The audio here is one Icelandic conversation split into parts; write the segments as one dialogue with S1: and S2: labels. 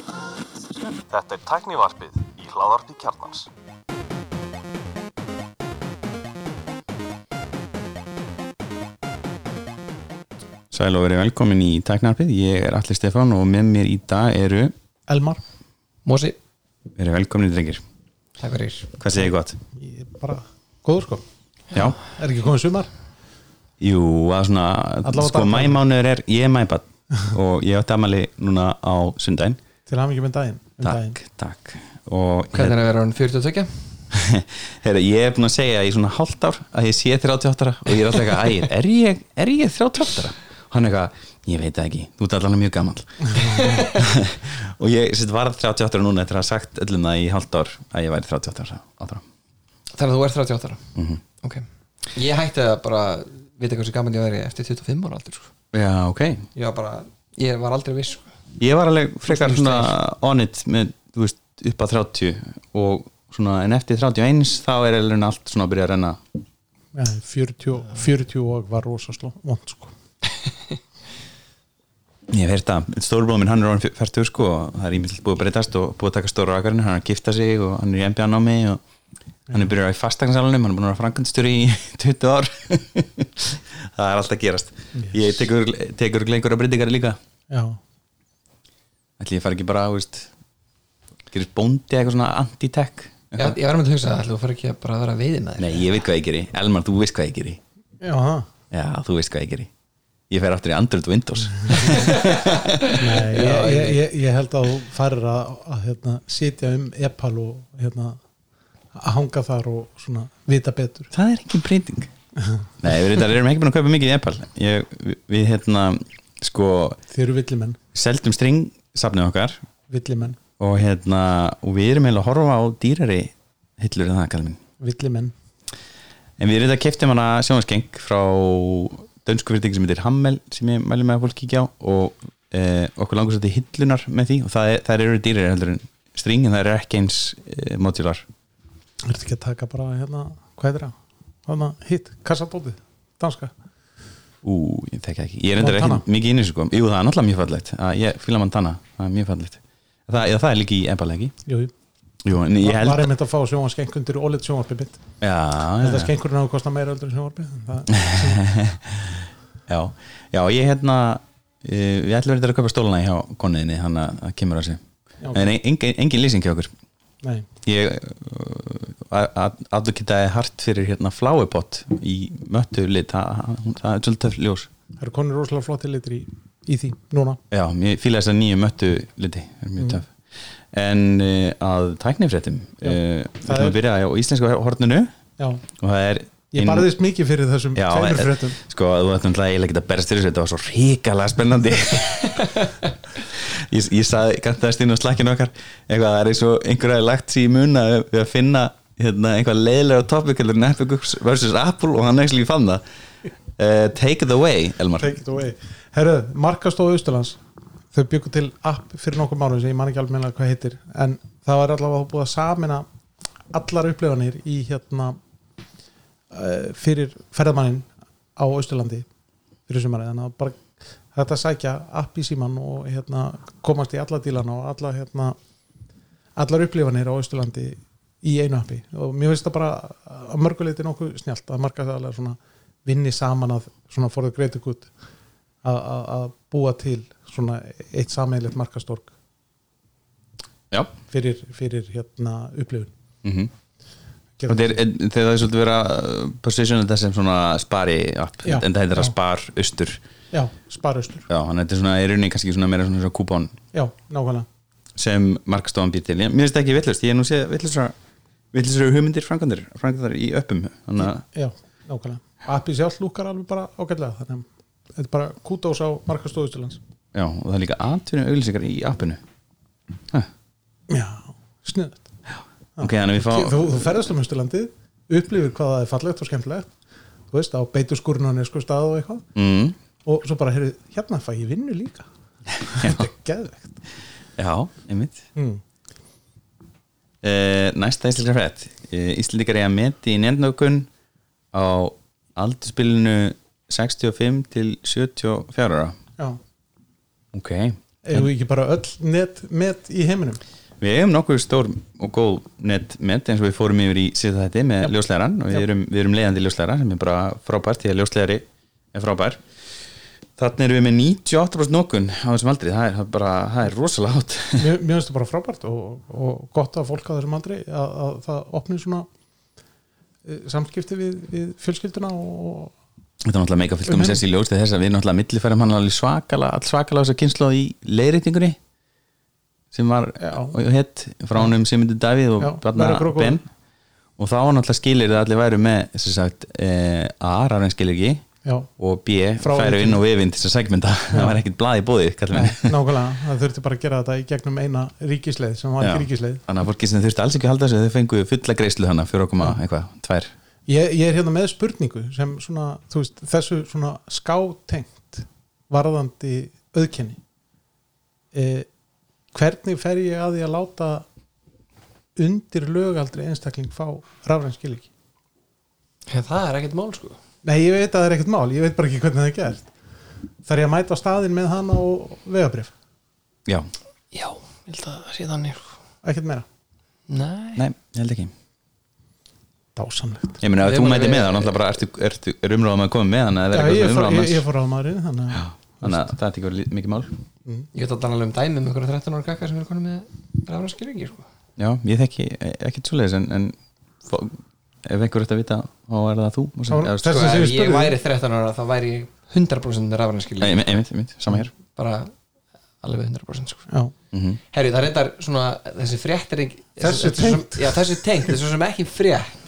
S1: Þetta er tæknivarpið í hláðarpi kjarnans.
S2: Sæl og verið velkomin í Tæknarpið, ég er Alli Stefán og með mér í dag eru
S3: Elmar, Mosi,
S2: verið velkomin drengir,
S3: takk fyrir
S2: hvað segir gott?
S3: Ég er bara góður sko
S2: Já,
S3: Er ekki komið sumar?
S2: jú, að svona,
S3: Alla á
S2: sko
S3: daginn.
S2: mæmánuður er, ég er mæbat og ég átti amali núna á sundaginn
S3: Til hafa mikið með daginn, um daginn.
S2: Takk, takk og
S4: Hvernig er að vera hann 42?
S2: Herra, ég er búin að segja í svona hálft ár að ég sé 38 og ég er alltaf eitthvað, ægir, er ég, er ég 38? Og Hann er eitthvað, ég veit það ekki, þú ert allan mjög gammal og ég sérst varð 38 ára núna eftir að hafa sagt öllum það í hálft ár að ég væri 38 ára. ára. Mhm.
S4: Þannig að þú ert 38 ára Ok Ég hætti að bara vita hversu gaman ég veri eftir 25 ára aldur sko.
S2: Já, ok,
S4: Ég var bara, ég var aldrei viss sko.
S2: Ég var alveg frekar svona on it með, þú veist, upp að 30 og svona, en eftir 31 þá er alveg allt svona að byrja að renna
S3: Ja, 40, 40 og var rosa sló vond sko
S2: Ég hef heyrt að stórbróðum minn hann er orðin færtur sko og það er ímyndilt búið að breytast og búið að taka stóra rakarinn, hann er að gifta sig og hann er í MBA námi og hann er byrjað í fastaknarsalunum, hann er búin að vera frangastur í 20 ár það er allt að gerast ég tekur, tekur lengur að breytingar líka
S3: Já,
S2: ætli ég fari ekki bara, þú veist gerist bóndi eitthvað svona anti-tech
S4: ég, ég var með að hugsa það, ætli þú fyrir ekki að bara vera veiðin að þér
S2: Nei, ég veit hvað ég geri, Elmar, þú veist hvað ég geri
S3: já, ha.
S2: Já, þú veist hvað ég geri Ég fer aftur í Android og Windows
S3: Nei, ég, ég, ég, ég held að þú farir að, að hérna, sitja um epal og hérna, að hanga þar og svona vita betur
S2: Það er ekki breyting Nei, við reyndar erum ekki búin að kaupa mikið í Apple ég, við, við hérna, sko
S3: Þeir eru villimenn,
S2: seldum string safnið okkar
S3: villimenn,
S2: og hérna, og við erum eiginlega að horfa á dýrari hillur en það, kallum minn
S3: villimenn
S2: En við reynda keftum hana sjónaskeng frá dönsku fyrirtæki sem heitir Hammel sem ég mæli með að fólk kíkja á og e, okkur langur svo til hillunar með því og það, er, það eru dýrari heldur en string en það eru ekki eins e, modular
S3: Er þetta ekki að taka bara hérna, hvað er það? Hérna, hitt, kassabótið, danska
S2: Ú, ég þekki það ekki Ég er endur
S3: Montana.
S2: ekki mikið inni sko Jú, það er náttúrulega mjög fallegt Að Ég fíla Montana, það er mjög fallegt Það, já, það er líka í Embala, ekki?
S3: Jú, jú
S2: Jú, en ég held
S3: var einmitt að fá sjónvarskenk undir óleitt sjónvarpið mitt
S2: Já,
S3: þetta
S2: já,
S3: skenkurinn á að kosta meira öldur en sjónvarpið það,
S2: já, já, ég hérna uh, Við ætlum verið að kaupa stólana hjá konniðinni Þannig að það kemur að sig
S3: Já, ok.
S2: En engin, engin lýsing hjá okkur
S3: nei,
S2: Ég eh, aðdukitaði hart fyrir hérna fláubott í möttu lit það, það, það er svolítið töff ljós
S3: það eru konur rosalega flotti litur í, í því núna
S2: Já, ég fíla þess að nýju möttu liti er mjög
S3: Mm.
S2: töf en uh, að tæknifréttum uh, við
S3: það
S2: ætlum
S3: er-
S2: að byrja á íslenska horninu
S3: já,
S2: og það er
S3: ég barðist mikið fyrir þessum
S2: Já,
S3: tveimur
S2: eh,
S3: fréttum
S2: sko, þú ætlum að eiginlega geta berst fyrir þessu þetta var svo ríkalega spennandi ég, ég saði kantaðist inn á slakkinu okkar eitthvað það er eins og einhver hafi lagt sér í muna við að finna hérna, einhvað leiðlega topic heldur en Netflix versus Apple og hann ekki fann það uh, Take it away, Elmar
S3: take it away herru, markastóð Austurlands þau byggu til app fyrir nokkur mánuð sem ég man ekki alveg meina hvað heitir en það var allavega búið að samina allar upplifanir í hérna uh, fyrir ferðamannin á Austurlandi fyrir sumarið þannig að bara þetta sækja app í síman og hérna komast í alla dílana og alla hérna allar upplifanir á Austurlandi í einu appi og mér finnst það bara að mörguleiti nokkuð snjált að marka það svona vinni saman að svona forðu greitu gutt að að búa til svona eitt sameiglegt markastorg
S2: Já
S3: fyrir, fyrir hérna upplifun
S2: mm
S3: Geta-
S2: Og þeir, en- þeir það er svolítið verið að positiona þetta sem svona spari app,
S3: Já.
S2: en það heitir að
S3: Já.
S2: spar austur,
S3: Já, sparaustur,
S2: já, hann þetta er svona í rauninni kannski svona meira svona, svona kúpón
S3: já, nákvæmlega
S2: sem markstofan býr til, Ég- mér finnst það ekki villust ég hef nú séð villustra villustra hugmyndir frangandir, frangandir í öppum þannig að
S3: Já, nákvæmlega. Appi sjálf lúkar alveg bara ágætlega þannig að þetta er bara kútós á markastóðustilans
S2: já, og það er líka atvinnu auglýsingar í appinu ha,
S3: Já, sniðut
S2: ok, þannig að við fá
S3: þú, þú ferðast um Östurlandið, upplifir hvað það er fallegt og skemmtilegt þú veist, á beituskurinn og nesku stað og eitthvað
S2: mm,
S3: og svo bara, heyrðu, hérna fæ ég vinnu líka þetta er geðvegt
S2: já, einmitt
S3: mm.
S2: Uh, næsta íslenska frétt uh, Íslendingar er að meti í nefndnökun á aldurspilinu 65 til 74 ára
S3: Já,
S2: ok,
S3: eigum við ekki bara öll net met í heiminum
S2: Við eigum nokkuð stór og góð netmet eins og við fórum yfir í síðan þetta með
S3: Já.
S2: ljóslegaran og við
S3: Já.
S2: erum, við erum leiðandi ljóslegara sem er bara frábært því að ljóslegari er frábær Þannig erum við með 98% nokkun á þessum aldri, það er, það er bara, það er rosalega hátt
S3: mér, mér finnst það bara frábært og, og gott að fólk á þessum aldrei að, að það opni svona eh, samskipti við, við fjölskylduna og
S2: Þetta er náttúrulega mega
S3: Mhm.
S2: fyllt um þessi ljós þegar þess að við náttúrulega millifærum hann alveg svakala, all svakala þess að kynsla í leiðrýtingunni sem var
S3: Já.
S2: og hett frá honum Simundur Davíð og
S3: Já,
S2: Bjarna
S3: Verra Krókó.
S2: Ben og þá var náttúrulega skilir það allir væru með sem sagt, eh, A, rafræn skilir ekki
S3: já,
S2: og B
S3: Frá
S2: færu inn á vefinn til þess að segmynda það var ekkert blað í bóði
S3: nei,
S2: þannig
S3: nákvæmlega það þurfti bara að gera þetta í gegnum eina ríkisleið sem var
S2: Já.
S3: ekki ríkisleið
S2: að fólki sem þurfti alls ekki að halda þessu þau fengu fulla greiðslu hana fyrir okkur maður eitthvað, tvær
S3: ég, ég er hérna með spurningu sem svona, þú veist, þessu svona skátengt varðandi auðkenni eh, hvernig fer ég að því að láta undir lögaldri einstakling fá rafræn skilíki
S4: Hef, það er ekkert mál sko
S3: nei, ég veit að það er ekkert mál, ég veit bara ekki hvernig það er gert þarf ég að mæta á staðin með hana og vegabrif,
S2: já,
S4: Já, ég held að það sé þannig sko.
S3: ekkert meira
S4: Nei,
S2: nei, ég held ekki
S3: dásamlegt
S2: ég meina ef
S4: Við
S2: þú
S4: bara-
S2: mæti með það, náttúrulega bara ertu, ertu, er umráðum að koma með hann eða
S3: Já,
S2: vera
S3: ég,
S2: eitthvað
S3: fór,
S2: umráðum
S3: ég, ég
S2: hans
S3: fór á maðurinn þannig að
S2: þannig að það er ekki verið lí- mikið mál
S4: Ég ætla að tala alveg um dæmi um einhverja 13 ára kakka sem er konum með rafna skilringi sko.
S2: já, ég þekki e- ekkert svoleiðis en, en fó- ef einhver ætti að vita þá er það þú og sem-
S3: Þá-
S2: eða,
S3: þessi-
S2: sko,
S4: sko,
S3: sem ég
S4: Ef ég
S3: spurði.
S4: væri 13 ára þá væri ég 100% með rafna skilringi
S2: nei, einmitt, einmitt, sama hér
S4: bara alveg 100% sko.
S3: já,
S2: Mhm.
S4: Herri, það reyndar svona þessi frétt er ekki
S3: Þessu
S4: þetta er svo sem-
S3: tengt.
S4: Já, þessu tengt, þessu sem ekki frétt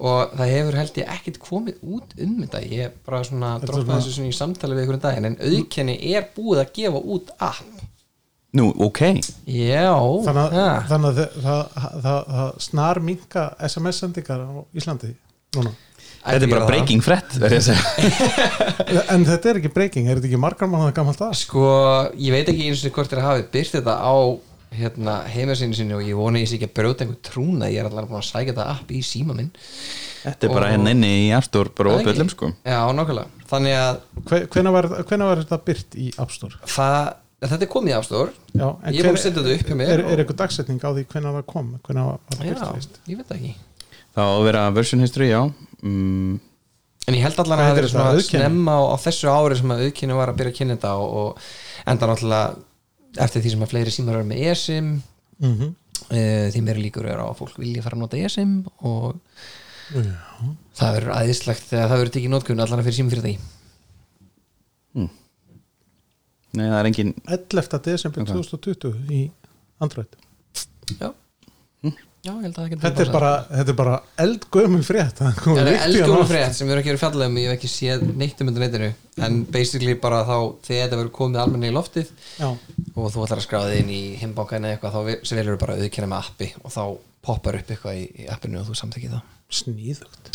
S4: og það hefur held ég ekkit komið út um þetta ég bara svona
S3: Þetta er
S4: droppaði
S3: svona-
S4: þessu svona í samtali við einhverjum daginn en auðkenni er búið að gefa út app
S2: nú, ok,
S4: Já,
S3: þannig
S4: ha.
S3: að, þannig að það, það, það, það snar minka SMS-sendingar á Íslandi núna.
S2: þetta er bara breaking frett verð ég að segja
S3: en þetta er ekki breyking, er þetta ekki margar mánuða gammal dag?
S4: Sko, ég veit ekki eins og hvort þeir hafi byrt þetta á hérna, heimasinu sinni og ég vona ég sé ekki að brjóta einhver trúna ég er allavega búin að sækja þetta app í síma minn
S2: Þetta er bara
S4: Og-
S2: hérna inni í Artur bara
S4: Það ekki?
S2: opöllum sko
S4: Já, nákvæmlega Þannig að
S3: Hvena var, hvenær var þetta byrt í App Store?
S4: það, þetta er komið í App Store
S3: Já,
S4: Ég er búin að setja þetta upp hjá mér
S3: Er, er
S4: og-
S3: eitthvað dagsetning á því hvenær það kom? Hvenær var það byrt fyrst?
S4: Já, ég veit það ekki
S2: Það á að vera version history, já mm,
S4: En ég held allan að
S3: Hvað
S4: það
S3: heitir
S4: verið svona
S3: þetta, auðkenni?
S4: snemma á, á þessu ári sem að auðkynni var að byrja að kynna þetta og, og enda náttúrulega eftir því sem að fleiri símar eru með ESIM
S3: Mm
S4: uh, því meiri líkur eru á að fólk vilja fara að nota ESIM og það verður aðeinslegt þegar það verður tekið í notkun allan að fyrir símum fyrir því
S2: Nei, það er engin
S3: 11. desember
S2: Ok.
S3: 2020 í Android
S4: Já, já ég held að það
S3: Hm?
S4: getur
S3: Þetta er bara, þetta er bara eldgömul frétt það kom
S4: Það er
S3: líkt í hana.
S4: eldgjóðan frétt sem við erum ekki verið fjallað um ég hef ekki séð neitt um þetta á netinu en basically bara þá þegar þetta verður komið almenni í loftið
S3: Já,
S4: og þú ætlar að skráða þig inn í himbankan eða eitthvað þá sem velur bara auðkenna með appi og þá poppar upp eitthvað í, í appinu og þú samtækið það
S3: sníðugt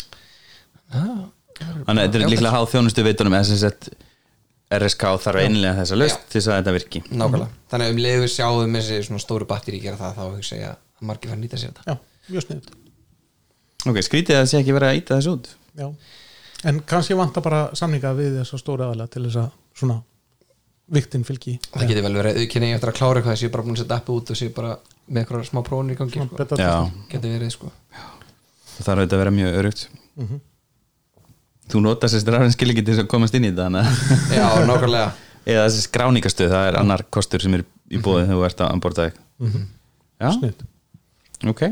S4: ah,
S2: Þannig að þetta er líklega háð þjónustu veitunum SSL RSK þarf einlega þessa löst
S4: Já.
S2: til þess að þetta virki
S4: Nákvæmlega, þannig að um leiðu við sjáum þessi svona stóru batteri gera það þá hugsa ég að margir fær að nýta sér þetta
S3: Já, mjög sniðugt
S2: Ok, skrítið að það sé ekki verið að íta þessu út
S3: Já, en kannski vantar bara samninga við þessa stóra aðalega til þess að svona viktin fylgi
S4: Það getur vel verið auðkenni eftir að klára eitthvað þessi bara búin að setja appi út og séu bara með eitthvað smá prófun í gangi sko.
S3: beta
S2: Já,
S3: testing.
S4: Getur verið sko
S2: það þarf þetta að vera mjög örugt
S3: Mhm.
S2: Þú nota sérst rafinn skiliki til þess að komast inn í þetta þannig að-
S4: Já, nákvæmlega
S2: Eða þessi skráningastöð, það er annar kostur sem er í bóðið þegar þú ert að anborda þig Já,
S3: Sniðugt.
S2: ok,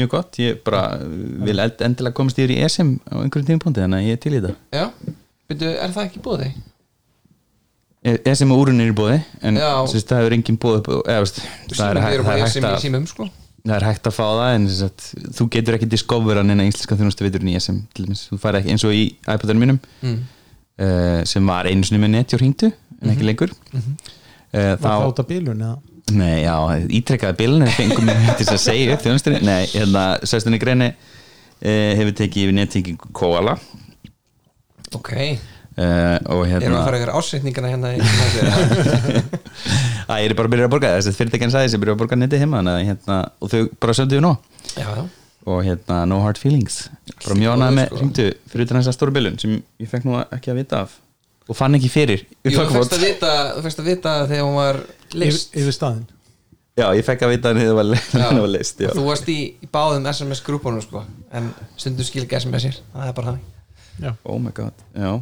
S2: mjög gott Ég bara uh, vil eld- endilega komast yfir í SM á einhverjum tímpúndi, þannig að ég er til í þetta
S4: Já, byrju, er það ekki búið þig?
S2: SM og úrun E er í bóði en
S4: Já.
S2: sérst, það hefur engin bóð upp eða, veist, það, er hægt, það, er hægt
S4: að
S2: að,
S4: Símum, sko.
S2: það er hægt að fá það en sérst, þú getur ekki discover hann en íslenska þjónustu veiturinn í SM til dæmis. þú færi ekki eins og í iPad-unum mínum
S4: mm.
S2: uh, sem var einu sinni með netjó hringdu en
S4: Mhm.
S2: ekki lengur mm
S3: Var það
S2: þá,
S3: út af bílun eða?
S2: Nei, já, ítrekkaði bílun fengum við til þess að segja upp þjónustunni Nei, hérna, Svestunni Greini uh, hefur tekið yfir nettingingu Koala
S4: Ok,
S2: uh, og hérna
S4: erum við að fara yfir ásreitningana hérna í- hérna
S2: Æ, ég er bara að byrja að borga þessi fyrirtækjan sæði sem byrja að borga netið heima þannig að, hérna, og þau bara söndu nú
S4: Já, já,
S2: og hérna no hard feelings bara
S4: Allt í
S2: mjónað
S4: góðu,
S2: með
S4: sko.
S2: ringdu fyrir utan þessa stóru bylun sem ég fekk nú ekki að vita af og fann ekki fyrir
S4: Jú, þú fyrst
S2: upptakvot
S4: að vita, þú fyrst að vita þegar hún var list
S3: yfir, yfir staðin
S2: Já, ég fekk að vita henni þegar henni var list já.
S4: Þú varst í, í báðum SMS grúpunum sko En stundum skil ekki SMS-ir Það er bara þannig
S3: já,
S2: Oh my god, já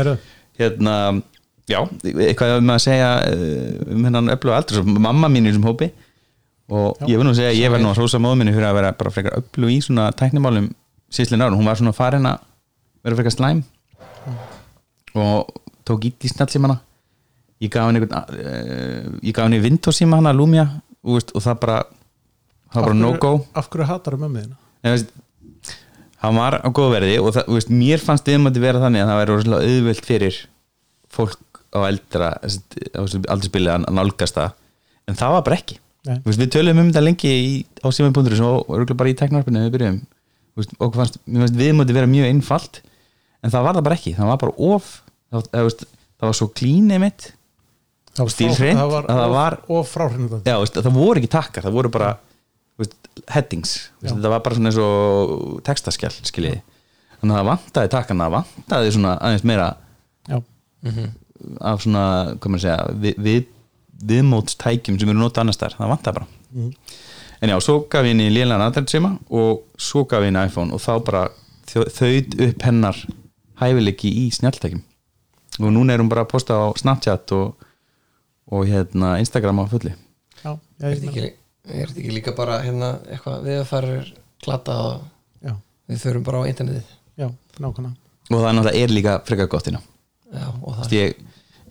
S3: herru,
S2: hérna já, eitthvað um að segja eh, um hennan öfluga aldur, svo mamma mín í þessum hópi og ég vil nú segja að ég verð nú að hrósa móðu minni fyrir að vera bara frekar öflug í svona tæknimálum síðslega nára, hún var svona farin að vera frekar slæm og tók ít í snallsímana ég gaf henni einhvern uh, ég gaf henni vindósíma hana, Lumia og, veist, og það bara það var bara no go
S3: af hverju hatar um ömmuðina
S2: Nei, veist, hann var á góðu verði og það, þú veist, mér fannst viðmöndi vera þannig að það væri rosalega auðvelt fyrir fólk á eldra aldrei spilið að nálgast það en það var bara ekki
S3: Nei.
S2: Þú veist, við töluðum um þetta lengi í, á símanbúndur og örgulega bara í teknarpinu við byrjuðum Þú veist, okkur fannst, mér fannst viðmöndi vera mjög einfalt en það var það bara ekki, það var bara of það, það, veist, það var svo klínið mitt
S3: það var
S2: Stílhreint,
S3: það var,
S2: að það var-
S3: of, of fráhrindandi
S2: já, veist, það voru ekki takkar, það voru bara þú veist, headings, veist,
S3: Já.
S2: það var bara svona eins og textaskjall, skiljiði þannig að það vantaði takkana, það vantaði svona aðeins meira
S3: já,
S2: af svona, hvað maður segja við, við, viðmótstækjum sem eru notað annars þar, það vantaði bara en já, svo gaf ég henni lélan aðrætsema og svo gaf ég henni iPhone og þá bara þau- þaut upp hennar hæfileiki í snjalltækjum og núna er hún bara að posta á Snapchat og, og hérna Instagram á fulli
S3: já, já,
S4: Er
S3: ég
S4: þetta
S3: meina-
S4: ekki, er þetta ekki líka bara hérna eitthvað við að fara klata og
S3: já,
S4: við förum bara á internetið
S3: já, nákvæmlega
S2: og það náttúrulega er líka frekar gott hérna
S4: Já, og það
S2: ég,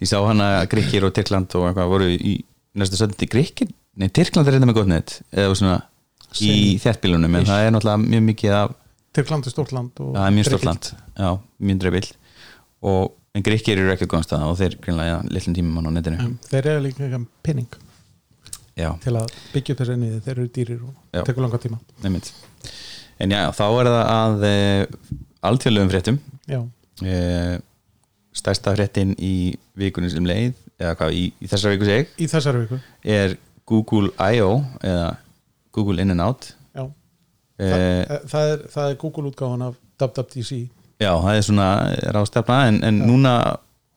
S2: ég sá hana Grikkir og Tyrkland og eitthvað voru í næstu söndi Grikkir, nei Tyrkland er reynda með gott net eða svona í þjættbílunum en það er náttúrulega mjög mikið af
S3: Tyrkland er stórt land og
S2: það er mjög
S3: Grikkland.
S2: stort land, já, mjög dreifil og en Grikkir eru ekki góðan stað og þeir greinlega lillin tíma mann á netinu
S3: En þeir eru líka ekki penning
S2: já,
S3: til að byggja upp þessu enniði, þeir eru dýrir og
S2: Já.
S3: tekur langa tíma
S2: nefnt en já, þá er það að e, alltjóðlegum fréttum
S3: já,
S2: e, stærsta fréttin í vikunum sem leið eða hvað, í, í þessar viku seg
S3: í þessari viku
S2: er Google I.O. eða Google In and Out
S3: já,
S2: e,
S3: það, eh, það, er, það er Google útgáðan af WWDC
S2: Já, það er svona rástefna en, en núna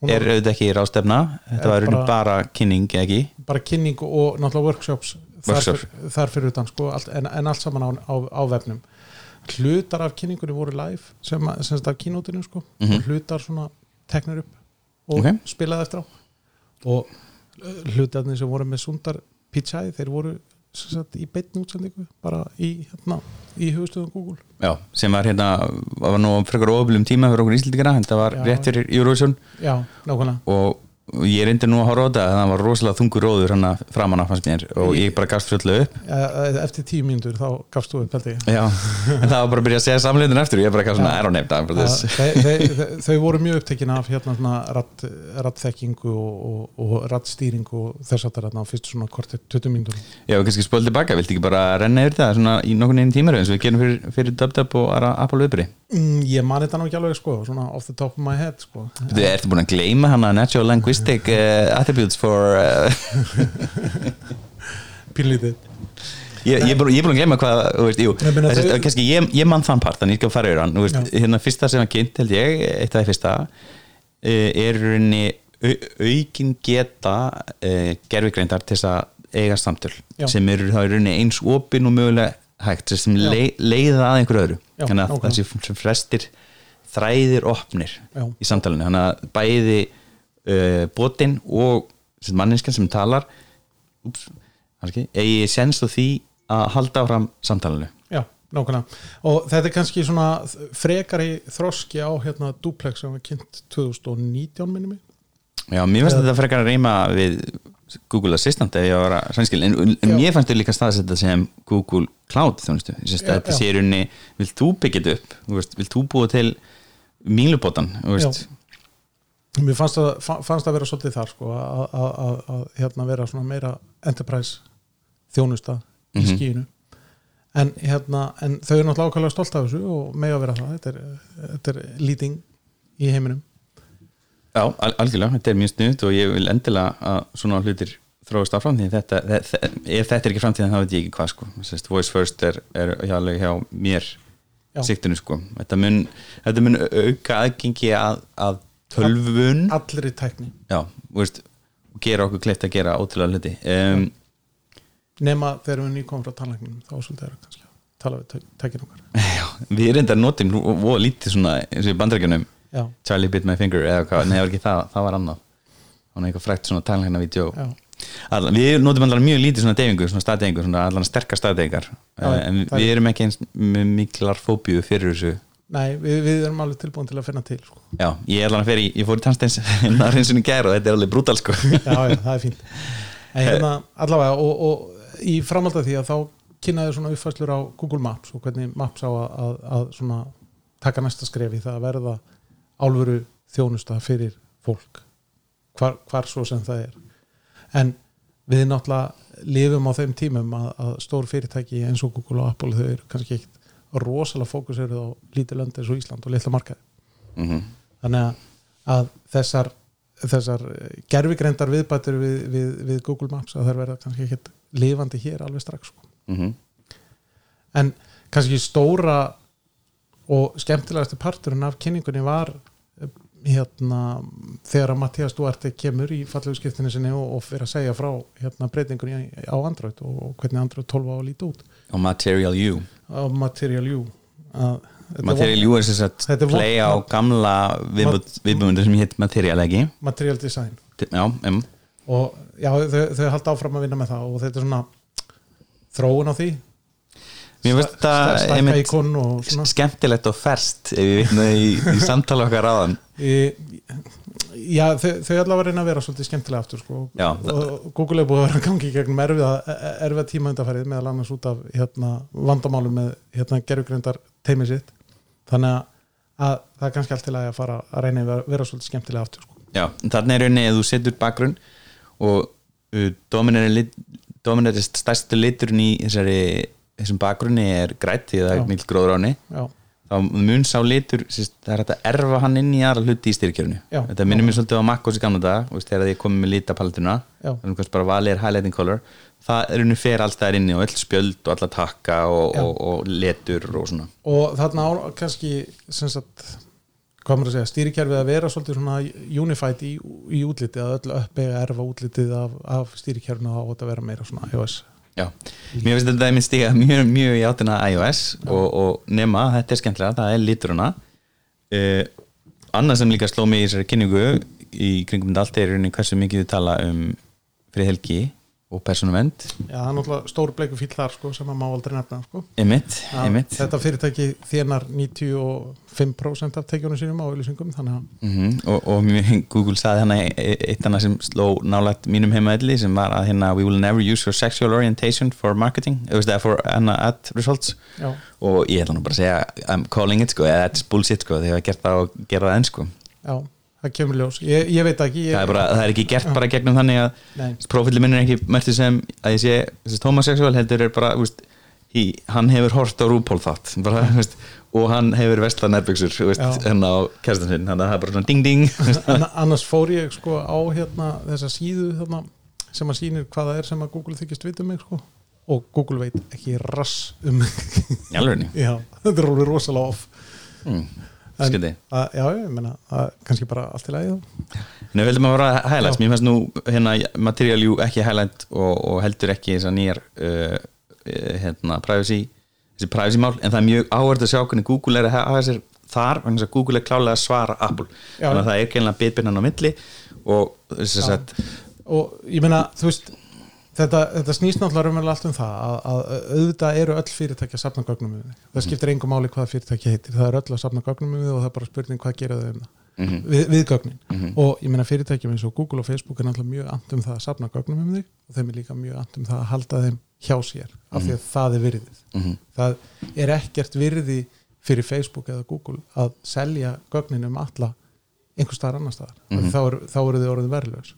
S3: Hún
S2: er
S3: var-
S2: auðvitað ekki rástefna
S3: Er
S2: þetta var bara,
S3: bara-
S2: bara kynning, eða ekki?
S3: bara kynning og náttúrulega workshops þar,
S2: Workshop.
S3: fyr, þar fyrir utan sko, allt, en, en allt saman á, á, á vefnum hlutar af kynningunni voru live sem, að- sem þetta af kínótinu sko
S2: Mhm.
S3: og hlutar svona teknir upp og
S2: Ok.
S3: spilaði eftir á og eh, hlutarnir sem voru með sundar Pichai, þeir voru sem sagt, í beinni útsendingu bara í, hérna, í höfustöðum Google
S2: Já, sem var hérna var nú frekar ofilum tíma fyrir okkur íslendingana þetta var
S3: Já.
S2: rétt fyrir Eurovision
S3: já, nákvæmlega
S2: og og ég reyndi nú að horfa á þetta en það var rosalega þungur róður hann að framan af hans mér og ég bara gafst fullu upp
S3: Eh, eftir tíu mínútur þá gafst þú upp held ég
S2: Já, en það var bara að byrja að segja samleitin eftir og ég bara gaf svona, I don't name time for
S3: Þe,
S2: this
S3: þe, þe, þau voru mjög upptekin af hérna svona ratt, rattþekkingu og, og, og rattstýringu og þess að það er á fyrst svona kortir 20 mínútur
S2: Já, við kannski spólið tilbaka, viltu ekki bara renna yfir það svona í nokkurn einn tímar eins og við gerum fyrir, fyrir DubDub og aðra Apple uppri
S3: mm, ég man þetta nú ekki alveg sko svona off the top of my head sko
S2: Þú ertu búin að gleyma hana Natural Linguistic uh, Attributes for uh,
S3: pínlítið
S2: ég, ég, er búin, ég er búin að gleyma hvað þú veist, jú,
S3: Ég meina
S2: þess,
S3: þau-
S2: kannski, ég, ég mann þann part þannig ég skal fara yfir hann þú veist,
S3: Já.
S2: hérna fyrsta sem hann kynnt held ég eitt af því fyrsta eh, er í rauninni au, aukin geta uh, gerfigreindar til þess að eiga samtöl
S3: Já.
S2: sem eru þá í rauninni eins opin og mögulega hægt sem
S3: Já.
S2: lei, leiða að einhverju öðru
S3: Já,
S2: þannig að
S3: nákvæmlega.
S2: það sé sem flestir þræðir opnir
S3: Já.
S2: í samtalinu þannig að bæði uh, botin og sem manninskan sem talar ups, kannski, eigi sens á því að halda áfram samtalinu
S3: já, nákvæmlega og þetta er kannski svona frekari þroski á hérna duplex sem var kynnt 2019 minnum
S2: Já, mér finnst þetta frekar að reyma við Google Assistant ef ég var að sannskil en, en
S3: Já.
S2: mér fannst þetta líka staðsetta sem Google Cloud þjónustu, þess að
S3: Já,
S2: þetta
S3: já.
S2: sé í rauninni vil þú byggja þetta upp, þú veist, vil þú búa til mýlubotan, þú veist
S3: Já. mér fannst að, fa- fannst að vera svolítið þar sko að, að, að, að hérna vera svona meira enterprise þjónusta í
S2: Mhm.
S3: skínu en hérna, en þau eru náttúrulega ákvæmlega stolt af þessu og mega vera það þetta er, þetta er leading í heiminum
S2: Já, al algjörlega, þetta er mjög snuðt og ég vil endilega að svona hlutir þróast áfram því þetta, þe- þe- ef þetta er ekki framtíðan þá veit ég ekki hvað sko, Sest, voice first er, er hjálega hjá mér
S3: Já.
S2: siktinu sko þetta mun, þetta mun auka aðgengi að, að tölvun
S3: allri tækni
S2: já, þú veist, og gera okkur kleitt að gera ótrúlega hluti um,
S3: nema þegar við nýkomum frá tannlækninum þá svolítið erum kannski að tala við tæ- tækin okkar
S2: já, við reyndar notum nú voða lítið svona eins og í bandrækjunum
S3: já,
S2: Charlie bit my finger eða hvað, nei það var ekki það, það var annað það var eitthvað frækt svona talanlegna vídeo
S3: já,
S2: Alla, við notum allan mjög lítið svona deyfingu, svona staðdeyfingu, svona allan sterkar staðdeyfingar
S3: Já,
S2: en
S3: það er-
S2: við erum ekki eins með miklar fóbíu fyrir þessu
S3: nei, við, við erum alveg tilbúin til að finna til sko.
S2: já, ég er allan að fyrir, ég fór í tannsteins náðrinsunni gær og þetta er alveg brútal sko
S3: já, já, það er fínt en hérna, allavega, og, og í framhald af því að þá kynnaði svona uppfæslur á Google Maps og hvernig Maps á að, að, að svona taka næsta skref í það að verða álfuru þjónusta fyrir fólk hvar, hvar svo sem það er en við náttúrulega lifum á þeim tímum að, að stór fyrirtæki eins og Google og Apple þau eru kannski ekkit rosalega fókusir á lítið lönd eins og Ísland og litla markaði
S2: mm
S3: þannig að, að þessar, þessar gerfigreindar viðbætur við, við, við Google Maps að þær verða kannski ekkert lifandi hér alveg strax sko.
S2: mhm.
S3: en kannski stóra og skemmtilegasti parturinn af kynningunni var eh, hérna, þegar að Mattias Duarte kemur í fallegurskiptinu sinni og, og fyrir að segja frá hérna, breytingunni á Android og, og hvernig Android 12 á að líta út
S2: og Material U
S3: á Material U að, þetta var-
S2: Material U er sem sagt
S3: Þetta er von-
S2: play á gamla viðbúndur sem hétt Material ekki
S3: Material Design
S2: já, um,
S3: og já, þau, þau halda áfram að vinna með það og þetta er svona þróun á því
S2: mér finnst
S3: Sta-
S2: þetta
S3: stækka
S2: einmitt
S3: íkon og svona
S2: skemmtilegt og ferst ef ég vitna í, í samtala okkar áðan
S3: Í- já, þau, þau allavega reyna að vera svolítið skemmtilega aftur sko.
S2: Já,
S3: og og Google er búið að vera að gangi í gegnum erfiða, erfiða tíma undarfærið meðal annars út af hérna, vandamálum með hérna, gerfugrindar teimið sitt þannig að, að það er kannski allt til að fara að reyna að vera, vera svolítið skemmtilega aftur sko.
S2: Já, þannig er rauninni að þú setur bakgrunn og uh, dominar lit, dominar stærstu liturinn í þessari, þessum bakgrunni er grætt því að það
S3: Já.
S2: er mikill gróður áni
S3: já,
S2: þá mun sá litur, sérst, það er hægt að erfa hann inn í aðra hluti í styrkjörnu
S3: Já.
S2: þetta minnir mér svolítið á Makkos í gamla dag og þegar ég komið með litapaletuna
S3: Já.
S2: þannig kannski bara valið er highlighting color það er unni fer alls þær inni og öll spjöld og alla takka og,
S3: Já.
S2: og, og letur og svona
S3: og þarna á kannski sem sagt hvað maður að segja, stýrikerfið að vera svolítið svona unified í, í útlitið að öll uppi að erfa útlitið af, af stýrikerfinu þá á þetta að vera meira svona iOS
S2: Já, mér finnst þetta að mér stiga mjög, mjög í átina iOS og, og nema, þetta er skemmtilega, það er lituruna uh, annað sem líka sló mig í þessari kynningu í kringum þetta allt er í rauninni hversu mikið þau tala um fyrir helgi og persónuvend
S3: Já, það er náttúrulega stór bleiku fíll þar sko sem að má aldrei nefna sko
S2: emitt,
S3: Að
S2: emitt
S3: Þetta fyrirtæki þénar 95% af tekjunum sínum á auðlýsingum þannig að
S2: mm og, og mér- Google saði hana e- e- eitt annað sem sló nálægt mínum heimaðli sem var að hérna we will never use your sexual orientation for marketing eða þú veist, for hana, ad results
S3: já,
S2: og ég ætla nú bara að segja I'm calling it sko, eða that's bullshit sko þegar ég hef gert það og gera það enn sko
S3: já, það kemur ljós Ég, ég veit ekki, ég,
S2: það er, bara, það er ekki gert bara gegnum þannig
S3: Nei.
S2: að profilin minn er ekki mertu sem að ég sé þessi homosexual heldur er bara úst, í, hann hefur hort á rúpól þátt bara, úst, og hann hefur vesla nærbuksur
S3: Já.
S2: hérna á kæstan sinn þannig að það er bara svona ding ding úst,
S3: Anna- annars fór ég sko á hérna þessa síðu þarna, sem að sýnir hvað það er sem að Google þykist vita um mig sko og Google veit ekki rass um mig
S2: í alvegni
S3: já, þetta er alveg rosalega off
S2: mm.
S3: En-
S2: skildi
S3: að, já, ég meina, að, kannski bara allt í lagi þá.
S2: en við heldum að vera highlights
S3: Já.
S2: mér fannst nú hérna Material U ekki highlight og, og heldur ekki þess að nýjar uh, eh, hérna privacy þessi privacy mál en það er mjög áhverð að sjá hvernig Google er að hafa þessir þar vegna þess að Google er klálega að svara Apple
S3: Já.
S2: þannig að það er gennilega bitbinnan á milli og þess að sett
S3: og ég meina, þú veist þetta, þetta snýst náttúrulega raunverulega allt um það að, að auðvitað eru öll fyrirtæki að safna gögnum um þig. það skiptir engum máli hvað fyrirtæki heitir það eru öll að safna gögnum um þig og það er bara spurning hvað gera þau um það
S2: mhm,
S3: við, við gögnin og ég meina fyrirtækjum eins og Google og Facebook er náttúrulega mjög amt um það að safna gögnum um þig og þeim er líka mjög amt um það að halda þeim hjá sér af því að það er virðið
S2: mhm,
S3: það er ekkert virði fyrir Facebook eða Google að selja gögnin um alla einhver staðar annar staðar þá, eru, þá eru þið orðin verðlaus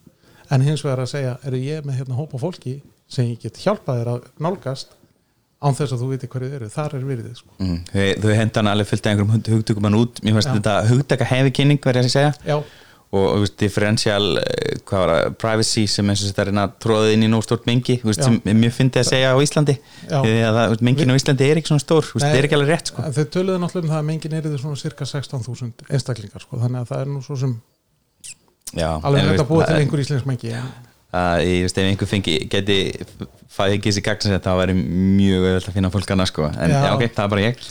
S3: en hins vegar að segja, er ég með hérna hópa fólki sem ég get hjálpað þér að nálgast án þess að þú viti hverju þið eru þar er virðið sko
S2: mm, þau, þau henda hann alveg fullt af einhverjum hugtökum hann út mér fannst
S3: Já.
S2: þetta hugtaka hefi kynning verið að segja
S3: já,
S2: og þú veist, differential eh, hvað var það, privacy sem eins og þetta er reyna tróðið inn í nóg stórt mengi þú veist,
S3: Já.
S2: sem er mjög fyndið að segja á Íslandi
S3: Já.
S2: því að það, þú veist, mengin á Íslandi er ekki svona stór þú veist, það er ekki alveg rétt sko
S3: En Þau töluðu náttúrulega um það að mengin er þið svona cirka 16.000 einstaklingar sko. þannig að það er nú svo sem
S2: Já, en,
S3: alveg
S2: þú
S3: hægt
S2: veist,
S3: að búa til
S2: það-
S3: einhver íslensk mengi en,
S2: að ég veist ef einhver fengi geti fæði ekki þessi gagnsett það væri mjög öðvöld að finna fólk annars sko en já.
S3: Já.
S2: ok, það er bara ég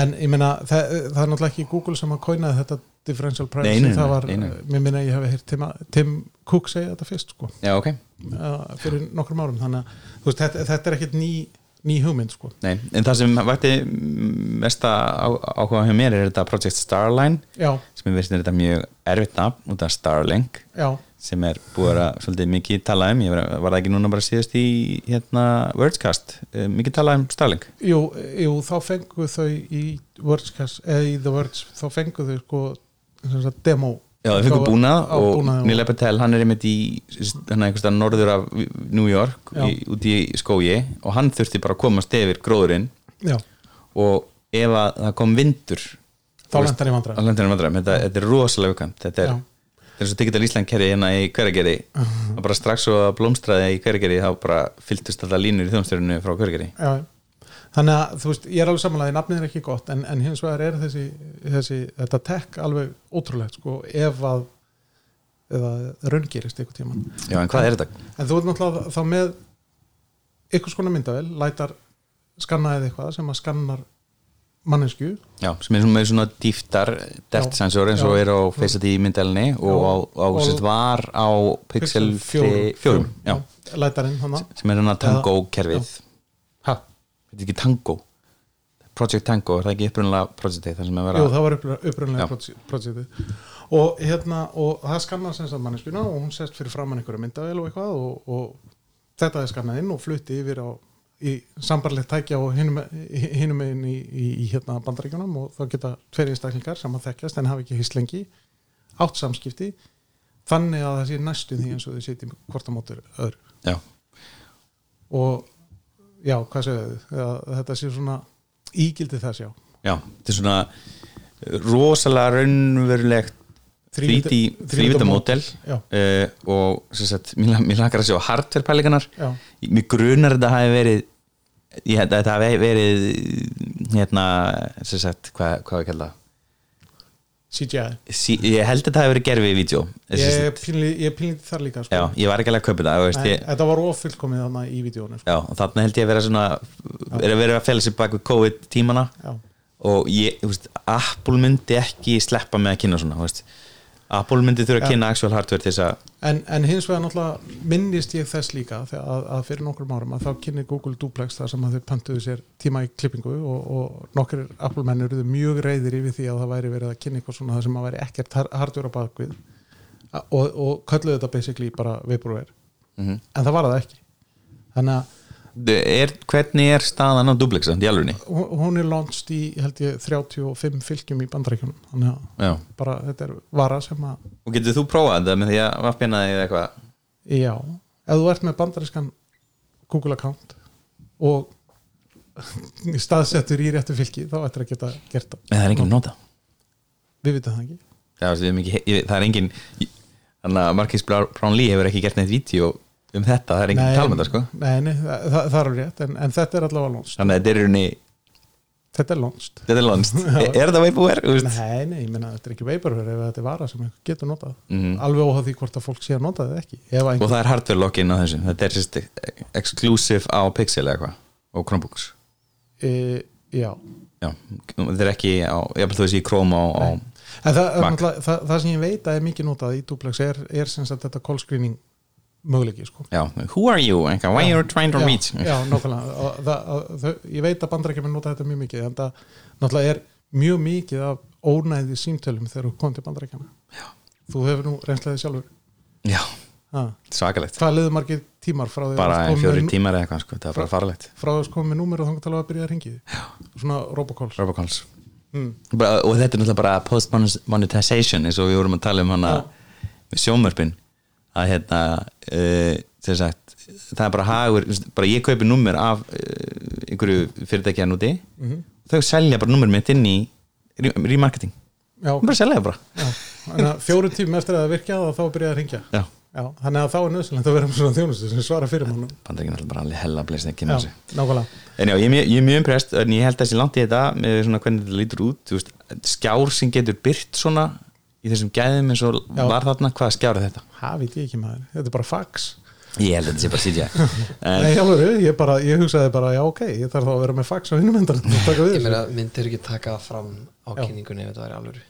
S3: en ég meina það, það er náttúrulega ekki Google sem að koinaði þetta differential privacy
S2: Nei, nei, nei,
S3: það var,
S2: nei, nei.
S3: mér minna að ég hef heyrt Tim, Tim Cook segja þetta fyrst sko,
S2: já ok,
S3: uh, fyrir nokkrum árum þannig að þú veist, þetta, þetta er ekkit ný, ný hugmynd sko.
S2: nei en það sem vætti mesta á- áhuga hjá mér er þetta Project Starline
S3: já,
S2: sem ég veist er þetta mjög erfitt nafn út af Starlink
S3: já,
S2: sem er búið að vera svolítið mikið talað um ég var, var það ekki núna bara síðast í hérna Wordscast, eh, mikið talað um Starlink
S3: jú, jú þá fengu þau í Wordscast eða í The Words, þá fengu þau sko sem sagt, demo
S2: Já, það fengur
S3: Þá-
S2: búnað
S3: á
S2: og
S3: búnaði
S2: Neil Patel, hann er einmitt í hann er einhverstað norður af New York
S3: Já.
S2: í, út í skógi og hann þurfti bara að komast yfir gróðurinn
S3: já,
S2: og ef að það kom vindur
S3: þá lent hann í vandræðum
S2: á landinu vandræðum, þetta, þetta er rosalega aukant þetta er,
S3: Já.
S2: þetta er svo digital Ísland kerri hérna í hverjargeri og bara strax og blómstraði í hverjargeri þá bara fylgtust alltaf línur í þjómsstörinu frá hverjargeri
S3: Já, þannig að þú veist, ég er alveg samanlega nafnið er ekki gott en, en hins vegar er þessi, þessi þetta tech alveg ótrúlegt sko ef að eða raungirist einhvern tíman
S2: Já, en hvað er þetta?
S3: en þú ert náttúrulega þá með einhvers konar myndavel, lætar skannaðið eitthvað sem að skannar mannesku
S2: Já, sem er svona, með svona dýftar
S3: Já.
S2: depth sensor eins og
S3: Já.
S2: er á Face ID myndalni og á, á,
S3: Og-
S2: sérst var á Pixel 4 já,
S3: lætarinn hann
S2: sem er hann að Tango kerfið
S3: Já. ha,
S2: þetta er ekki Tango Project Tango, er það ekki upprunalega projectið þar sem er
S3: Jú,
S2: verið að
S3: það var uppr-
S2: Já.
S3: upprunlega proje- projektið og hérna, og það skannar sem sagt manneskjuna og hún sest fyrir framann einhverju myndavél og eitthvað og, og þetta er skannað inn og flutti yfir á í sambarlegt tækja og hinum hinum einn í, í, í hérna bandaríkjunum og þá geta tveir einstaklingar sem að þekkjast en hafa ekki hist lengi átt samskipti þannig að það sé næstu því eins og þau sitjum hvort á mótur öðru
S2: Já,
S3: og já, hvað segðu þau þetta sé svona ígildi þess já
S2: já, þetta er svona eh, rosalega raunverulegt 3D þrývitamódel
S3: Já.
S2: uh, og sem sagt, mér, mér lakar að sjá hardware pælingarnar
S3: Já.
S2: mér grunar þetta hafi verið ég, held að þetta hafi verið hérna, sem sagt, hvað, hvað við kalla
S3: CGI
S2: sí, ég held að þetta hafi verið gerfið í vídeo
S3: ég er pínlítið- ég er pínlítið þar líka sko.
S2: já, ég var ekki alveg að kaupa þetta þú veist,
S3: en,
S2: ég,
S3: þetta var ofullkomið þannig í vídjónu sko.
S2: já, og þarna held ég að vera svona er að vera að fela sér bak við COVID tímana
S3: Já.
S2: og ég, þú veist, Apple myndi ekki sleppa með að kynna svona, þú veist Apple myndi þurfa að kynna actual hardware til þess að
S3: en, en hins vegar náttúrulega minnist ég þess líka þegar- að, að fyrir nokkrum árum að þá kynni Google Duplex þar sem að þau pöntuðu sér tíma í klippingu og, og nokkur Apple-menn eruðu mjög reyðir yfir því að það væri verið að kynni eitthvað svona það sem að væri ekkert har- hardware á bakvið A- og, og kölluðu þetta basically bara vaporware
S2: Mhm.
S3: en það var það ekki þannig að
S2: er, hvernig er staðan á duplexand í alvegni?
S3: hún hún er launched í held ég 35 fylgjum í bandaríkjunum þannig að
S2: Já.
S3: bara þetta er vara sem að
S2: Og getur þú prófað þetta með því að vaffina þig eða eitthvað?
S3: já, ef þú ert með bandarískan Google account og staðsettur í réttu fylki þá ættir að geta gert það
S2: Nei, það er enginn nota.
S3: við vitum það ekki
S2: Já, veist, við höfum ekki, ég, það er enginn, þannig að Marcus Brownlee hefur ekki gert neitt vídeo um þetta, það er enginn
S3: Nei,
S2: að tala með það sko.
S3: nei, nei, það, það það er alveg rétt en, en þetta er allavega launched
S2: Þannig að þetta er í rauninni,
S3: þetta er launched
S2: þetta er lónst. er er þetta vaporware? Þú veist?
S3: nei, nei, ég meina þetta er ekki vaporware ef þetta er vara sem einhver getur notað
S2: Mhm.
S3: alveg óháð því hvort að fólk sé að nota það ekki ef
S2: Og
S3: einhver,
S2: það er hardware lock-in á þessu, þetta er sérst exclusive á Pixel eða eitthvað og Chromebooks.
S3: e, já
S2: Já, þetta er ekki á, ég þú veist í Chrome á, á
S3: En það, er
S2: Mac.
S3: náttúrulega- það, það sem ég veit að er mikið notað í duplex er, er sem sagt þetta call screening möguleiki sko.
S2: já, who are you, eitthvað, why are you trying to
S3: já,
S2: reach?
S3: já, nákvæmlega Og það, að, þau, ég veit að bandarækjum er notað þetta mjög mikið en það náttúrulega er mjög mikið af ónæði símtölum þegar þú kom til bandarækjum þú hefur nú reynslaði sjálfur
S2: Já,
S3: ha.
S2: svakalegt,
S3: hvað liður margir tímar frá því
S2: bara
S3: þú
S2: fjóri
S3: komið með,
S2: tímar eða eitthvað, sko, það er bara farlegt.
S3: frá því að komið með númer og þannig tala að byrja að ringi svona robocalls
S2: Robocalls
S3: Mm.
S2: bara, og þetta er náttúrulega bara post-monetization eins og við vorum að tala um hana með sjómörpin að hérna uh, sagt, það er bara hagur bara ég kaupi númer af uh, hérna
S3: Mhm.
S2: einhverju fyrirtækjan úti þau selja bara númer mitt inn í re- remarketing
S3: já,
S2: bara að selja það bara
S3: já. Þannig að fjórum tímum eftir að það virkja þá byrjaði að ringja
S2: já.
S3: já, þannig að þá er nöðsynlegt að vera með svona þjónustu sem svara fyrir mannum
S2: Bandaríkin er alltaf bara alveg hella blessin ekki
S3: já,
S2: með þessu
S3: nákvæmlega
S2: En já, ég er mjög, ég er mjög umprest en ég held að þessi langt í þetta með svona hvernig þetta lítur út þú veist, skjár sem getur byrt svona í þessum gæðum eins og
S3: Já.
S2: var þarna hvað skjár er þetta?
S3: það veit ég ekki maður, þetta er bara fax
S2: Ég held að þetta sé bara CGI en,
S3: Nei, alveg, ég, bara, ég hugsaði bara, já ok, ég þarf þá að vera með fax á hinumendar
S4: Ég meina, myndir ekki taka það fram á kynningunni ef þetta væri alvöru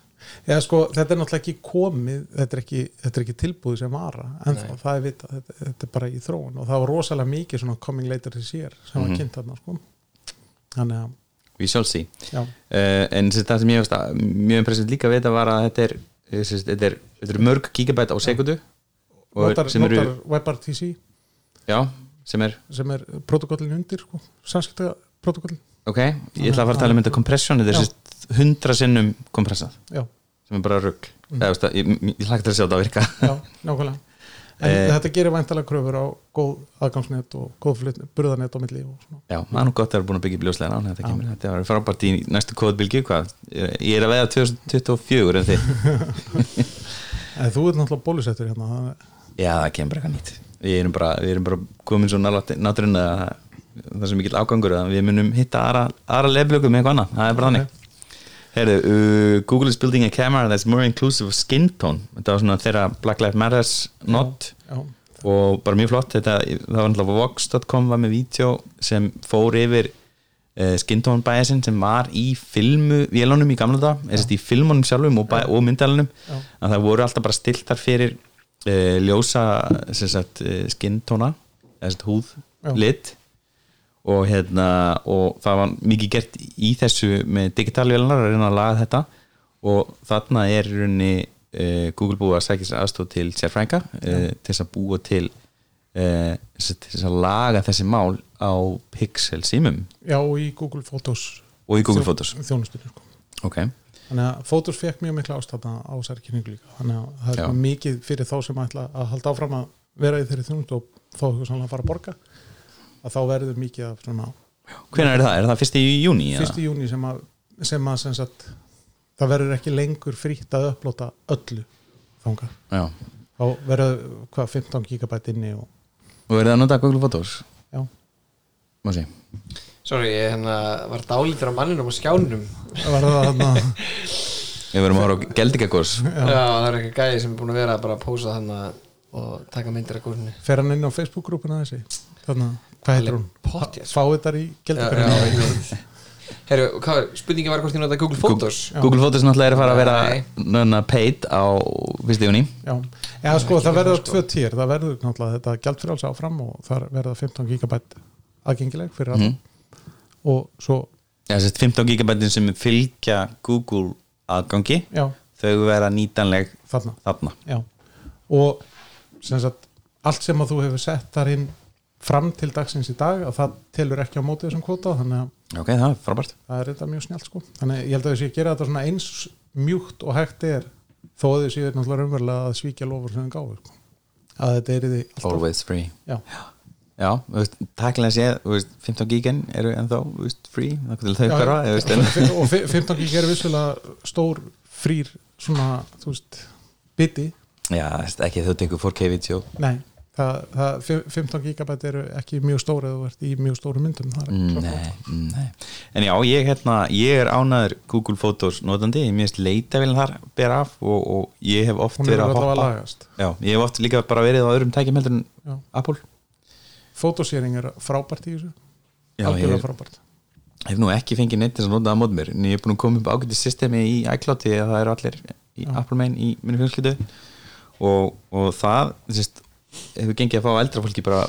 S3: Já, sko, þetta er náttúrulega ekki komið, þetta er ekki, þetta er ekki tilbúið sem vara, en þá, það er vita, þetta, þetta er bara í þróun og það var rosalega mikið svona coming later this year sem
S2: Mhm.
S3: var kynnt þarna, sko. Þannig að,
S2: We shall see
S3: já,
S2: uh, en sem það sem ég veist að mjög impressið líka við þetta var að þetta er, eh, sem sagt, þetta er, þetta er mörg gigabæt á sekundu og
S3: notar,
S2: sem eru
S3: notar WebRTC
S2: já, sem er,
S3: sem er protokollin undir, sko, samskipta protokollin,
S2: ok ég ætla að fara að tala um þetta kompression þetta er
S3: Já.
S2: sem sagt 100 sinnum kompressað
S3: já,
S2: sem er bara rugg
S3: Mm.
S2: eða, veist, að, ég, ég, ég hlægt að sjá þetta að virka
S3: já, nákvæmlega. En
S2: Eh.
S3: þetta gerir væntalega kröfur á góð aðgangsnet og góð flytni, burðanett á milli og svona.
S2: Já, maður er nú gott að vera búin að byggja bljóslega án þetta kemur, þetta var frábært í næstu kóðbylgi hvað, ég er að veða 2024 en þið,
S3: En þú ert náttúrulega bólusettur hérna, það er-
S2: já það kemur bara eitthvað nýtt við erum bara, við erum bara komin svo náttúrinn að það er svo mikill ágangur að við munum hitta aðra, aðra leflöku með eitthvað annað, það er bara þannig Herðu, uh, Google is building a camera that's more inclusive of skin tone þetta var svona þeirra Black Lives Matters not
S3: já,
S2: og bara mjög flott þetta, það var náttúrulega Vox.com var með vídeo sem fór yfir uh, Skintón bæðisinn sem var í filmu vélunum í gamla dag, eða sérst í filmunum sjálfum og, bæ, og myndalunum
S3: Já.
S2: að það voru alltaf bara stiltar fyrir uh, ljósa sem sagt, uh, skintóna eða sérst húð,
S3: Já.
S2: lit og hérna og það var mikið gert í þessu með digitalvélunar að reyna að laga þetta og þarna er í rauninni uh, Google búið að sækja sér aðstóð til sérfrænga uh, til þess að búa til uh, til þess að laga þessi mál á Pixel símum
S3: já, og í Google Photos
S2: og í Google Photos
S3: þjónustunni, sko.
S2: ok,
S3: Þannig að Fótus fekk mjög mikla ástæðna á þessari kynningu líka. Þannig að það er
S2: Já.
S3: svona mikið fyrir þá sem ætla að halda áfram að vera í þeirri þjónust og þá hefur sannlega að fara að borga að þá verður mikið af svona
S2: hvenær er það? Er það fyrst í júni?
S3: fyrst í júni sem að, sem að sem sagt, það verður ekki lengur frítt að upplota öllu þanga.
S2: Já,
S3: Þá verður hvað 15 gigabæt inni og
S2: og er það að nota Google Photos?
S3: já,
S2: Má sé
S4: Sorry, ég hérna var dálítur á manninum og skjánum Já,
S3: það verður það þarna
S2: Við verðum að horfa á geldingakurs
S4: það er eitthvað gæði sem er búin að vera bara að pósa hann og taka myndir af gúrinu
S3: fer hann inn á Facebook-grúpuna þessi þarna, hvað heitir hún?
S4: Pottér.
S3: Fáiðar í gældakurinn
S4: Herru, hvað er, spurningin var hvort ég nota Google Photos
S2: Google Photos náttúrulega er að fara að
S4: Nei.
S2: vera nöna paid á fyrst í júni
S3: Já, eða sko það verður tvö týr, það verður náttúrulega þetta gjald fyrir alls áfram og þar verða 15 gigabætt aðgengileg fyrir alla og svo,
S2: Já, sérst 15 gigabætin sem fylgja Google aðgangi
S3: já,
S2: þau vera nýtanleg
S3: þarna
S2: þarna
S3: já, og sem sagt, allt sem að þú hefur sett þar inn fram til dagsins í dag að það telur ekki á móti þessum kvota þannig að
S2: Ok, það er frábært
S3: það er þetta mjög snjált sko þannig að ég held að þessi að gera þetta svona eins mjúkt og hægt er þó að þessi er náttúrulega raunverulega að svíkja lofur sem það gáður sko. að þetta er í því alltaf,
S2: Always free
S3: já,
S2: Já, þú veist, takkilega séð, þú veist, 15 gigin eru ennþá, þú veist, free það getur þau
S3: Já,
S2: hverfa,
S3: já.
S2: þú veist, en
S3: Fi- og fi- 15 gig er vissulega stór frýr svona, þú veist, biti
S2: Já, þú veist, ekki þau tekur 4K video
S3: nei, það, það, fi- 15 gigabæt eru ekki mjög stór eða þú ert í mjög stóru myndum það er
S2: Mm,
S3: klárt.
S2: Nei, mm, nei En já, ég, hérna, ég er ánæður Google Photos notandi, ég minnst leita vel þar ber af og, og ég hef oft
S3: hún
S2: verið
S3: er
S2: að
S3: alltaf að
S2: hoppa
S3: lagast
S2: Já, ég hef oft líka bara verið á öðrum tækjum heldur en
S3: Já.
S2: Apple
S3: fotosering er frábært í þessu
S2: Já,
S3: algjörlega
S2: ég
S3: frábært
S2: hef nú ekki fengið neitt þess að nota það á mót mér en ég er búin að koma upp ágætið systemi í iCloud því að það eru allir í Apple main í minni fjölskyldu og, og það sérst, hefur gengið að fá eldra fólki bara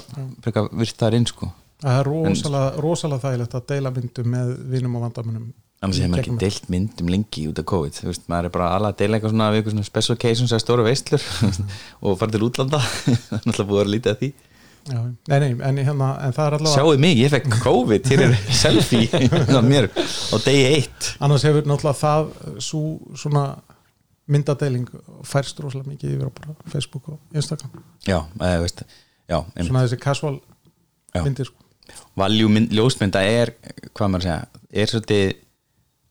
S2: frekar virt þar inn sko
S3: það er rosalega, rosalega þægilegt að deila myndum með vinum og vandamunum
S2: annars
S3: í
S2: hefur maður
S3: gegnum
S2: ekki deilt myndum lengi út af COVID þú veist, maður er bara alveg að deila eitthvað svona við eitthvað svona special occasions eða stóra veistlur
S3: Mhm.
S2: og fara til útlanda það er náttúrulega búið að vera lítið að því
S3: þetta. já, nei, nei, en, hérna, en það er allavega
S2: sjáu mig, ég fekk COVID, hér er selfie af mér á degi eitt
S3: annars hefur náttúrulega það eh, sú, svona myndadeiling færst rosalega mikið yfir á bara Facebook og Instagram
S2: já, eða, veist, já, einmitt.
S3: svona þessi casual
S2: Já.
S3: myndir sko.
S2: valjú mynd, ljósmynda er hvað maður að segja, er svolítið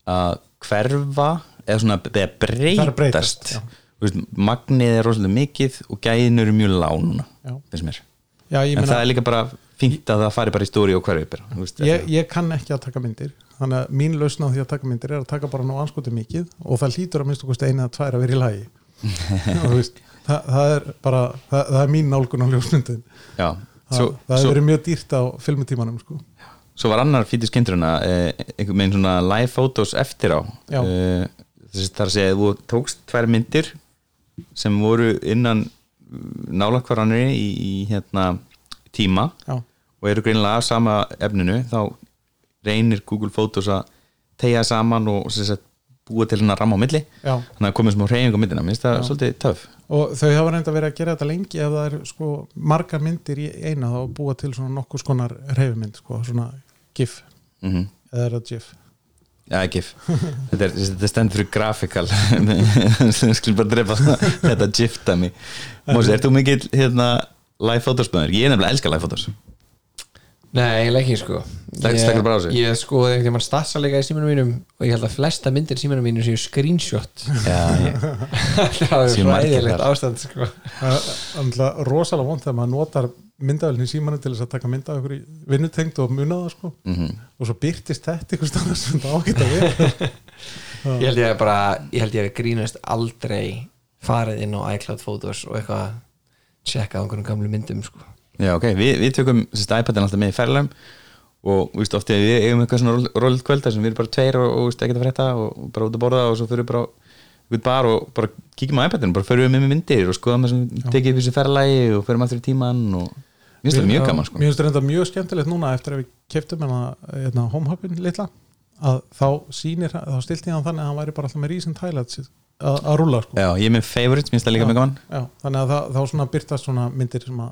S2: að hverfa eða svona eða breytast,
S3: breytast, já.
S2: Þú veist, magnið er rosalega mikið og gæðin eru mjög lág núna
S3: Já.
S2: finnst mér.
S3: Já, ég
S2: en
S3: meina-
S2: það er líka bara fínt að það fari bara í stóri og hverju uppir þú veist,
S3: ég, ég kann ekki að taka myndir þannig að mín lausna á því að taka myndir er að taka bara nú anskoti mikið og það hlýtur að minnstu kosti eina eða tvær að vera í lagi Þú veist, það, það er bara það, það er mín nálgun á ljósmyndin það,
S2: já, svo,
S3: það
S2: svo,
S3: hefur verið mjög dýrt á filmutímanum sko.
S2: svo var annar fítið skindruna eh, einhvern veginn svona live photos eftir á
S3: Já.
S2: eh, þessi þar að segja þú tókst tvær myndir sem voru innan nálakvaranri í, í hérna tíma
S3: já,
S2: og eru greinilega af sama efninu þá reynir Google Photos að tegja saman og sem sagt, búa til hérna ramma á milli
S3: já.
S2: þannig að komið smá reyning á myndina, minnst það svolítið töf
S3: og þau hafa reynda verið að gera þetta lengi ef það er sko margar myndir í eina þá búa til svona nokkus konar reyfmynd sko, svona gif
S2: mm
S3: eða er það gif
S2: Já, ekki, þetta, er, þetta stendur fyrir grafikal Skulum bara drepa það. þetta gifta mig Mósi, ert þú mikill hérna, live photos maður? Ég er nefnilega elska live photos
S4: Nei, eiginlega ekki sko
S2: Stak- stakkar bara á sig?
S4: Ég, ég skoði einhvern veginn statsalega í símanum mínum og ég held að flesta myndir í símanum mínum séu screenshot
S2: Já, ég,
S4: Það er
S2: Séu margir
S4: fræðilegt
S2: þar.
S4: ástand sko
S3: Það er náttúrulega rosalega vond þegar maður notar myndavælni símanu til þess að taka mynda af ykkur vinnutengd og muna það sko
S2: Mhm.
S3: -hmm. og svo byrtist þetta ykkur stannars sem það ágætt að vera
S4: Ég held ég að bara, ég held ég að grínast aldrei farið inn á iCloud Photos og eitthvað að tjekka á einhvern gamlu myndum sko
S2: Já, ok, Vi, við tökum sérst iPadin alltaf með í ferðlum og víst, ofti við eigum eitthvað svona rólið kvölda sem við erum bara tveir og, og víst, ekkert að frétta og, og bara út að borða og svo fyrir bara við bara og bara kíkjum á iPadin bara fyrir við með myndir og skoðum það sem tekið upp í þessu ferðlægi og fyrir aftur í tíman og mér finnst það mjög gaman sko
S3: Mér finnst þetta mjög skemmtilegt núna eftir að við keftum hérna, hérna homehubin litla að þá sýnir, þá stilti ég hann þannig að hann væri bara alltaf með recent highlights að, að rúla sko
S2: Já, ég er með favorites, mér finnst það líka mjög gaman
S3: Já, þannig að það, þá svona byrtast svona myndir sem að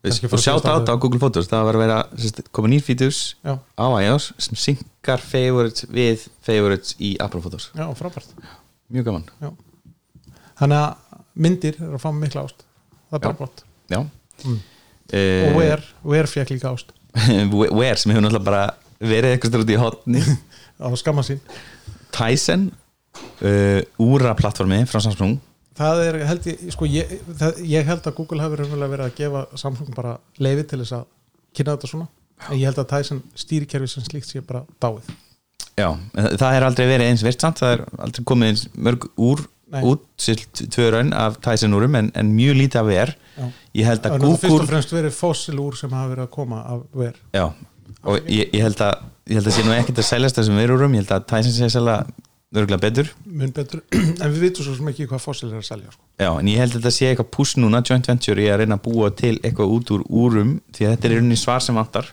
S3: Kannski
S2: og
S3: fólk
S2: sjátt
S3: hlustar á
S2: át á
S3: þau.
S2: Google Photos það var að vera sérst, koma nýr fítus
S3: Já.
S2: á iOS sem synkar favorites við favorites í Apple Photos
S3: Já, frábært
S2: mjög gaman,
S3: Já. Þannig að myndir er að fá mikla ást Það er bara
S2: Já.
S3: gott
S2: já
S3: Mm.
S2: Eh,
S3: og Where, Where fekk líka ást
S2: Ware sem hefur náttúrulega bara verið eitthvað stöður út í hotni
S3: á skamma sín
S2: Tyson uh, úra plattformi frá Samsung
S3: það er held ég, sko ég, það, ég held að Google hafi raunverulega verið að gefa Samsung bara leiði til þess að kynna þetta svona en ég held að Tyson stýrikerfi sem slíkt sé bara dáið
S2: já, en það er aldrei verið eins virt samt það er aldrei komið eins mörg úr
S3: Nei.
S2: út, silt tvö raun af Tyson úrum en, en mjög lítið af Ware
S3: Já.
S2: ég held
S3: það
S2: að
S3: er nú fyrst og
S2: Google
S3: fremst verið fossil úr sem hafa verið að koma af Where
S2: já, og ég, ég held að ég held að sé nú ekkert að seljast þessum verurum ég held að Tyson sé að selja örgulega betur
S3: mun betur, en við vitum svo sem ekki hvað fossil er að selja sko.
S2: Já, en ég held að þetta sé eitthvað pús núna joint venture í að reyna að búa til eitthvað út úr úrum því að þetta er í rauninni svar sem vantar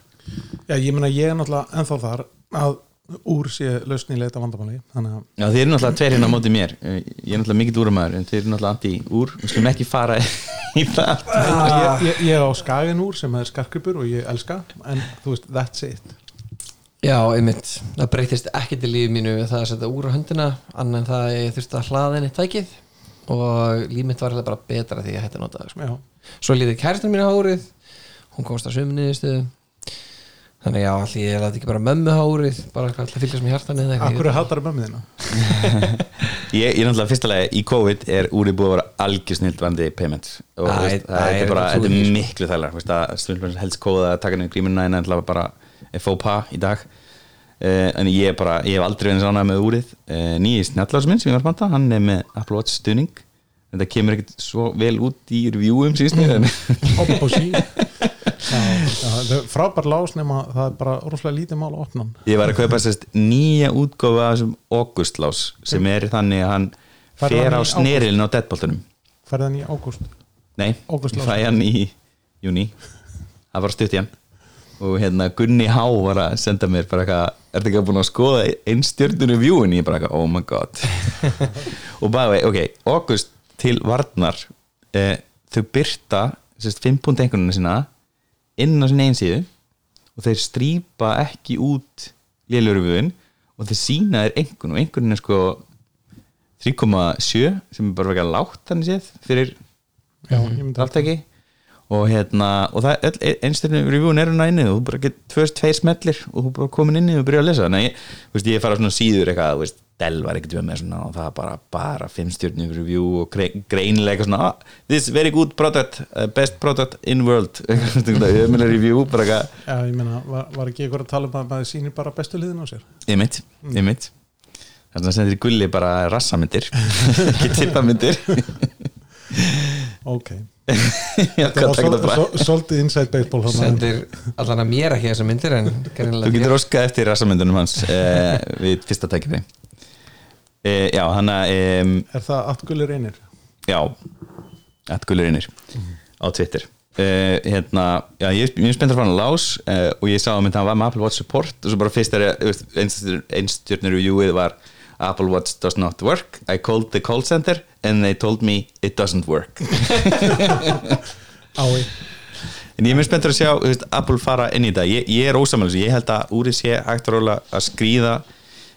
S3: já ég meina ég er náttúrulega ennþá þar að úr sé lausni í leita vandamáli þannig að
S2: Já, þið eru náttúrulega tveir hérna á móti mér Eh, Ég er náttúrulega mikill úramæður en þið eru náttúrulega anti úr Við skulum ekki fara í það Ah.
S3: ég, ég, ég er á skagin úr sem er skarkripur og ég elska en þú veist, that's it
S4: Já, einmitt, það breytist ekkert í lífi mínu við það að setja úr á höndina annan en það að ég þurfti að hlaða henni tækið og líf mitt var eiginlega bara betra því að ég hætti að nota það sko.
S3: já
S4: Svo lítið kærtan mín hárið hún komst að sömu niðurstöðu Þannig já, allir ég láti ekki bara mömmu hárið bara eitthvað alltaf fylgjast með hjartan eða eitthvað.
S3: Akkur er hattar mömmu þína?
S2: Ég er náttúrulega fyrsta lagi í COVID er úri búið að vera algjör snildvandi payment og
S4: Æ,
S2: þú veist, það
S4: æ,
S2: er
S4: ég
S2: bara,
S4: trúi
S2: þetta
S4: því,
S2: er
S4: sko.
S2: miklu þælar snildvandi helst kóða að taka niður grímuna en alltaf bara er faux pas í dag Uh, en ég, er bara, ég hef aldrei verið sánað með úrið uh, nýji snjallars minn sem ég var að panta hann er með Apple Watch stuðning þetta kemur ekkert svo vel út í reviewum síðust mér en
S3: Hopp og sí Frábær lás nema það er bara rosalega lítið mál að opna hann
S2: Ég var að kaupa sérst nýja útgófa af þessum Augustlás sem er þannig að hann
S3: Færðu
S2: fer
S3: hann
S2: á
S3: í
S2: snerilin á deadboltunum
S3: Færði hann í ágúst
S2: Nei,
S3: Augustlás.
S2: fæ hann í júni það var stutt í hann og hérna Gunni Há var að senda mér bara eitthvað, ertu ekki búin að skoða einstjörnunum vjúin, ég bara eitthvað, oh my god og bara, ok, August til Varnar eh, þau byrta sérst, 5. einkunina sína inn á sinni einsíðu og þeir strýpa ekki út lélurvöðin og þeir sína er einhvern og einhvern er sko 3,7 sem er bara verið lágt þannig séð fyrir
S3: Já, ég myndi að
S2: ráttæki og hérna og það öll einstaklega reviewin er hérna inni og þú bara getur tvöst tveir smellir og þú bara komin inni og byrja að lesa þannig að ég, þú veist, ég fara á svona síður eitthvað þú veist, Dell var ekkert með svona og það bara, bara fimmstjörnum review og gre- greinilega eitthvað svona ah, this very good product, uh, best product in world ömulega review bara eitthvað,
S3: Já, ég meina, var, var ekki ykkur að tala um að maður sýnir bara bestu liðin á sér
S2: ymmit,
S3: Mm.
S2: ymmit þannig að sendir gulli bara rassamyndir ekki tippamyndir
S3: Ok,
S2: Já, hvað
S3: það var
S2: taka
S3: sol-
S2: þetta bara?
S3: sol- svolítið inside baseball þarna.
S4: sendir allan að mér ekki þessar myndir en
S2: Þú
S4: greinilega
S2: getur óskað eftir rassamyndunum hans uh, við fyrsta tækifæri uh, Já, hann að um,
S3: Er það allt gullir einir?
S2: já, atgullurinnir Mhm. á Twitter uh, hérna, já, ég ég er spenntur að fara hann lás uh, og ég sá að mynda hann var með Apple Watch support og svo bara fyrst er einstjörnur reviewið var Apple Watch does not work I called the call center and they told me it doesn't work
S3: Ái,
S2: En ég er mjög spenntur að sjá þú veist, Apple fara inn í þetta Ég, ég er ósamlega, ég held að úrið sé hægt að róla að skríða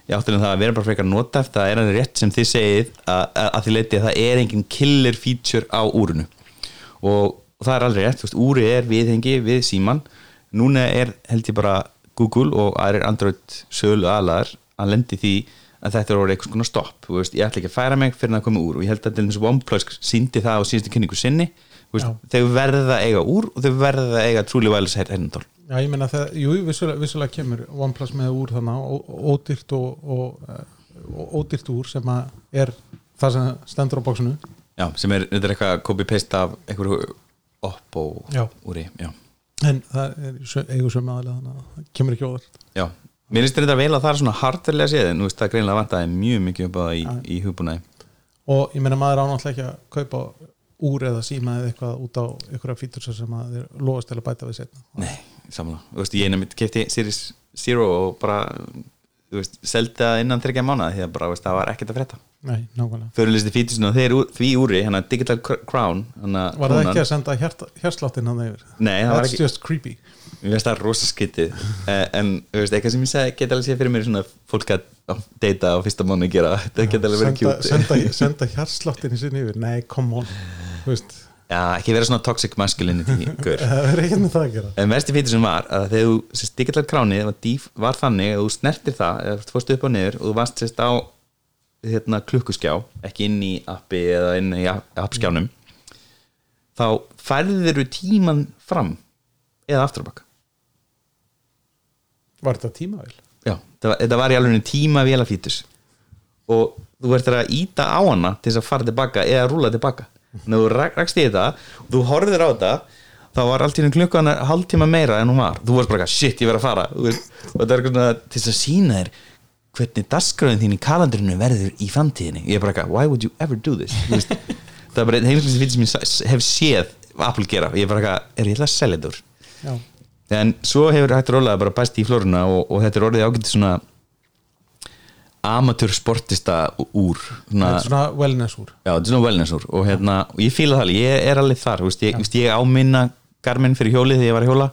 S2: Ég áttunum það að vera bara frekar notæft Það er hann rétt sem þið segið að, að, að því leiti að það er engin killer feature á úrinu og það er alveg rétt þú veist, Úrið er viðhengi við síman Núna er held ég bara Google og aðrir Android sölu aðlaðar að lendi því að þetta er orðið eitthvað svona stopp þú veist, ég ætla ekki að færa mig fyrir að koma úr og ég held að til þess OnePlus síndi það á síðustu kynningu sinni þú veist,
S3: Já.
S2: þau verða að eiga úr og þau verða að eiga trúli vælis hernindól
S3: já ég meina það, jú, vissulega, vissulega kemur OnePlus með úr þarna, ó- ódýrt og, og, eh, og ódýrt úr sem að er það sem stendur á bóksinu
S2: já, sem er, þetta er eitthvað copy-paste af einhverju Oppo
S3: Já.
S2: úri já,
S3: En það er sö- eigu sömu aðlega þannig að það kemur ekki óvart
S2: já, mér finnst þetta vel að það er svona hardverlega séðin, þú veist, það greinlega vantaði mjög mikið upp á það í, í hugbúnaði
S3: Og ég meina maður ánáttlega ekki að kaupa úr eða síma eða eitthvað út á einhverja fítursa sem að þeir lofast til að bæta við setna
S2: Nei, samanlega, þú veist, ég einnig mitt kefti Series Zero og bara þú veist, seldi það innan þryggja mánuða því að bara, þú veist, það var ekkert að frétta
S3: Nei, nákvæmlega
S2: Fyrirlisti fítusinu og þeir úr- því úri, hann að Digital Cr- Crown hana,
S3: Var það ekki að senda hjart, hjartsláttinn hann yfir?
S2: Nei, það var
S3: That's
S2: ekki,
S3: just creepy
S2: mér finnst það rosa skytið eh, en, þú veist, eitthvað sem ég segi geta alveg séð fyrir mér svona fólk að að deyta á fyrsta mánu gera, þetta geta alveg verið
S3: senda,
S2: kjút
S3: senda, senda hjartsláttinn í sinni yfir Nei, come on Þú veist,
S2: Já, ekki vera svona toxic masculinity gaur.
S3: Það er ekkert með það að gera
S2: en versti fítur sem var að þegar þú sérst digital kránið var, dýf, var þannig að þú snertir það eða þú fórst upp og niður og þú varst sérst á hérna, klukkuskjá ekki inn í appi eða inn í app- appskjánum þá færðir þú tíman fram eða afturbaka
S3: Var þetta tímavel?
S2: Já, þetta var- þetta var í alveg tíma vélafítus og þú verður að íta á hana til þess að fara tilbaka eða rúla tilbaka þannig að þú rak- rakst í þetta og þú horfðir á þetta þá var allt í henni klukkan hálftíma meira en hún var þú varst bara eitthvað, shit, ég verð að fara þú veist, og þetta er eitthvað svona til þess að sína þér hvernig dasgröðin þín í kalendrinu verður í framtíðinni, ég er bara eitthvað, why would you ever do this Þú veist, það er bara einn heimlislega fítus sem ég sa- hef séð Apple gera og ég er bara eitthvað, er ég ætla að selja þetta úr
S3: Já,
S2: en svo hefur hægt rólega bara bæst í flóruna og, og þetta er orðið ágætið svona amatör sportista úr svona,
S3: þetta er svona wellness úr
S2: já, þetta er svona wellness úr og, hérna, og ég fíla það, alveg, ég er alveg þar þú veist, ég, veist, ég á minna garminn fyrir hjólið þegar ég var að hjóla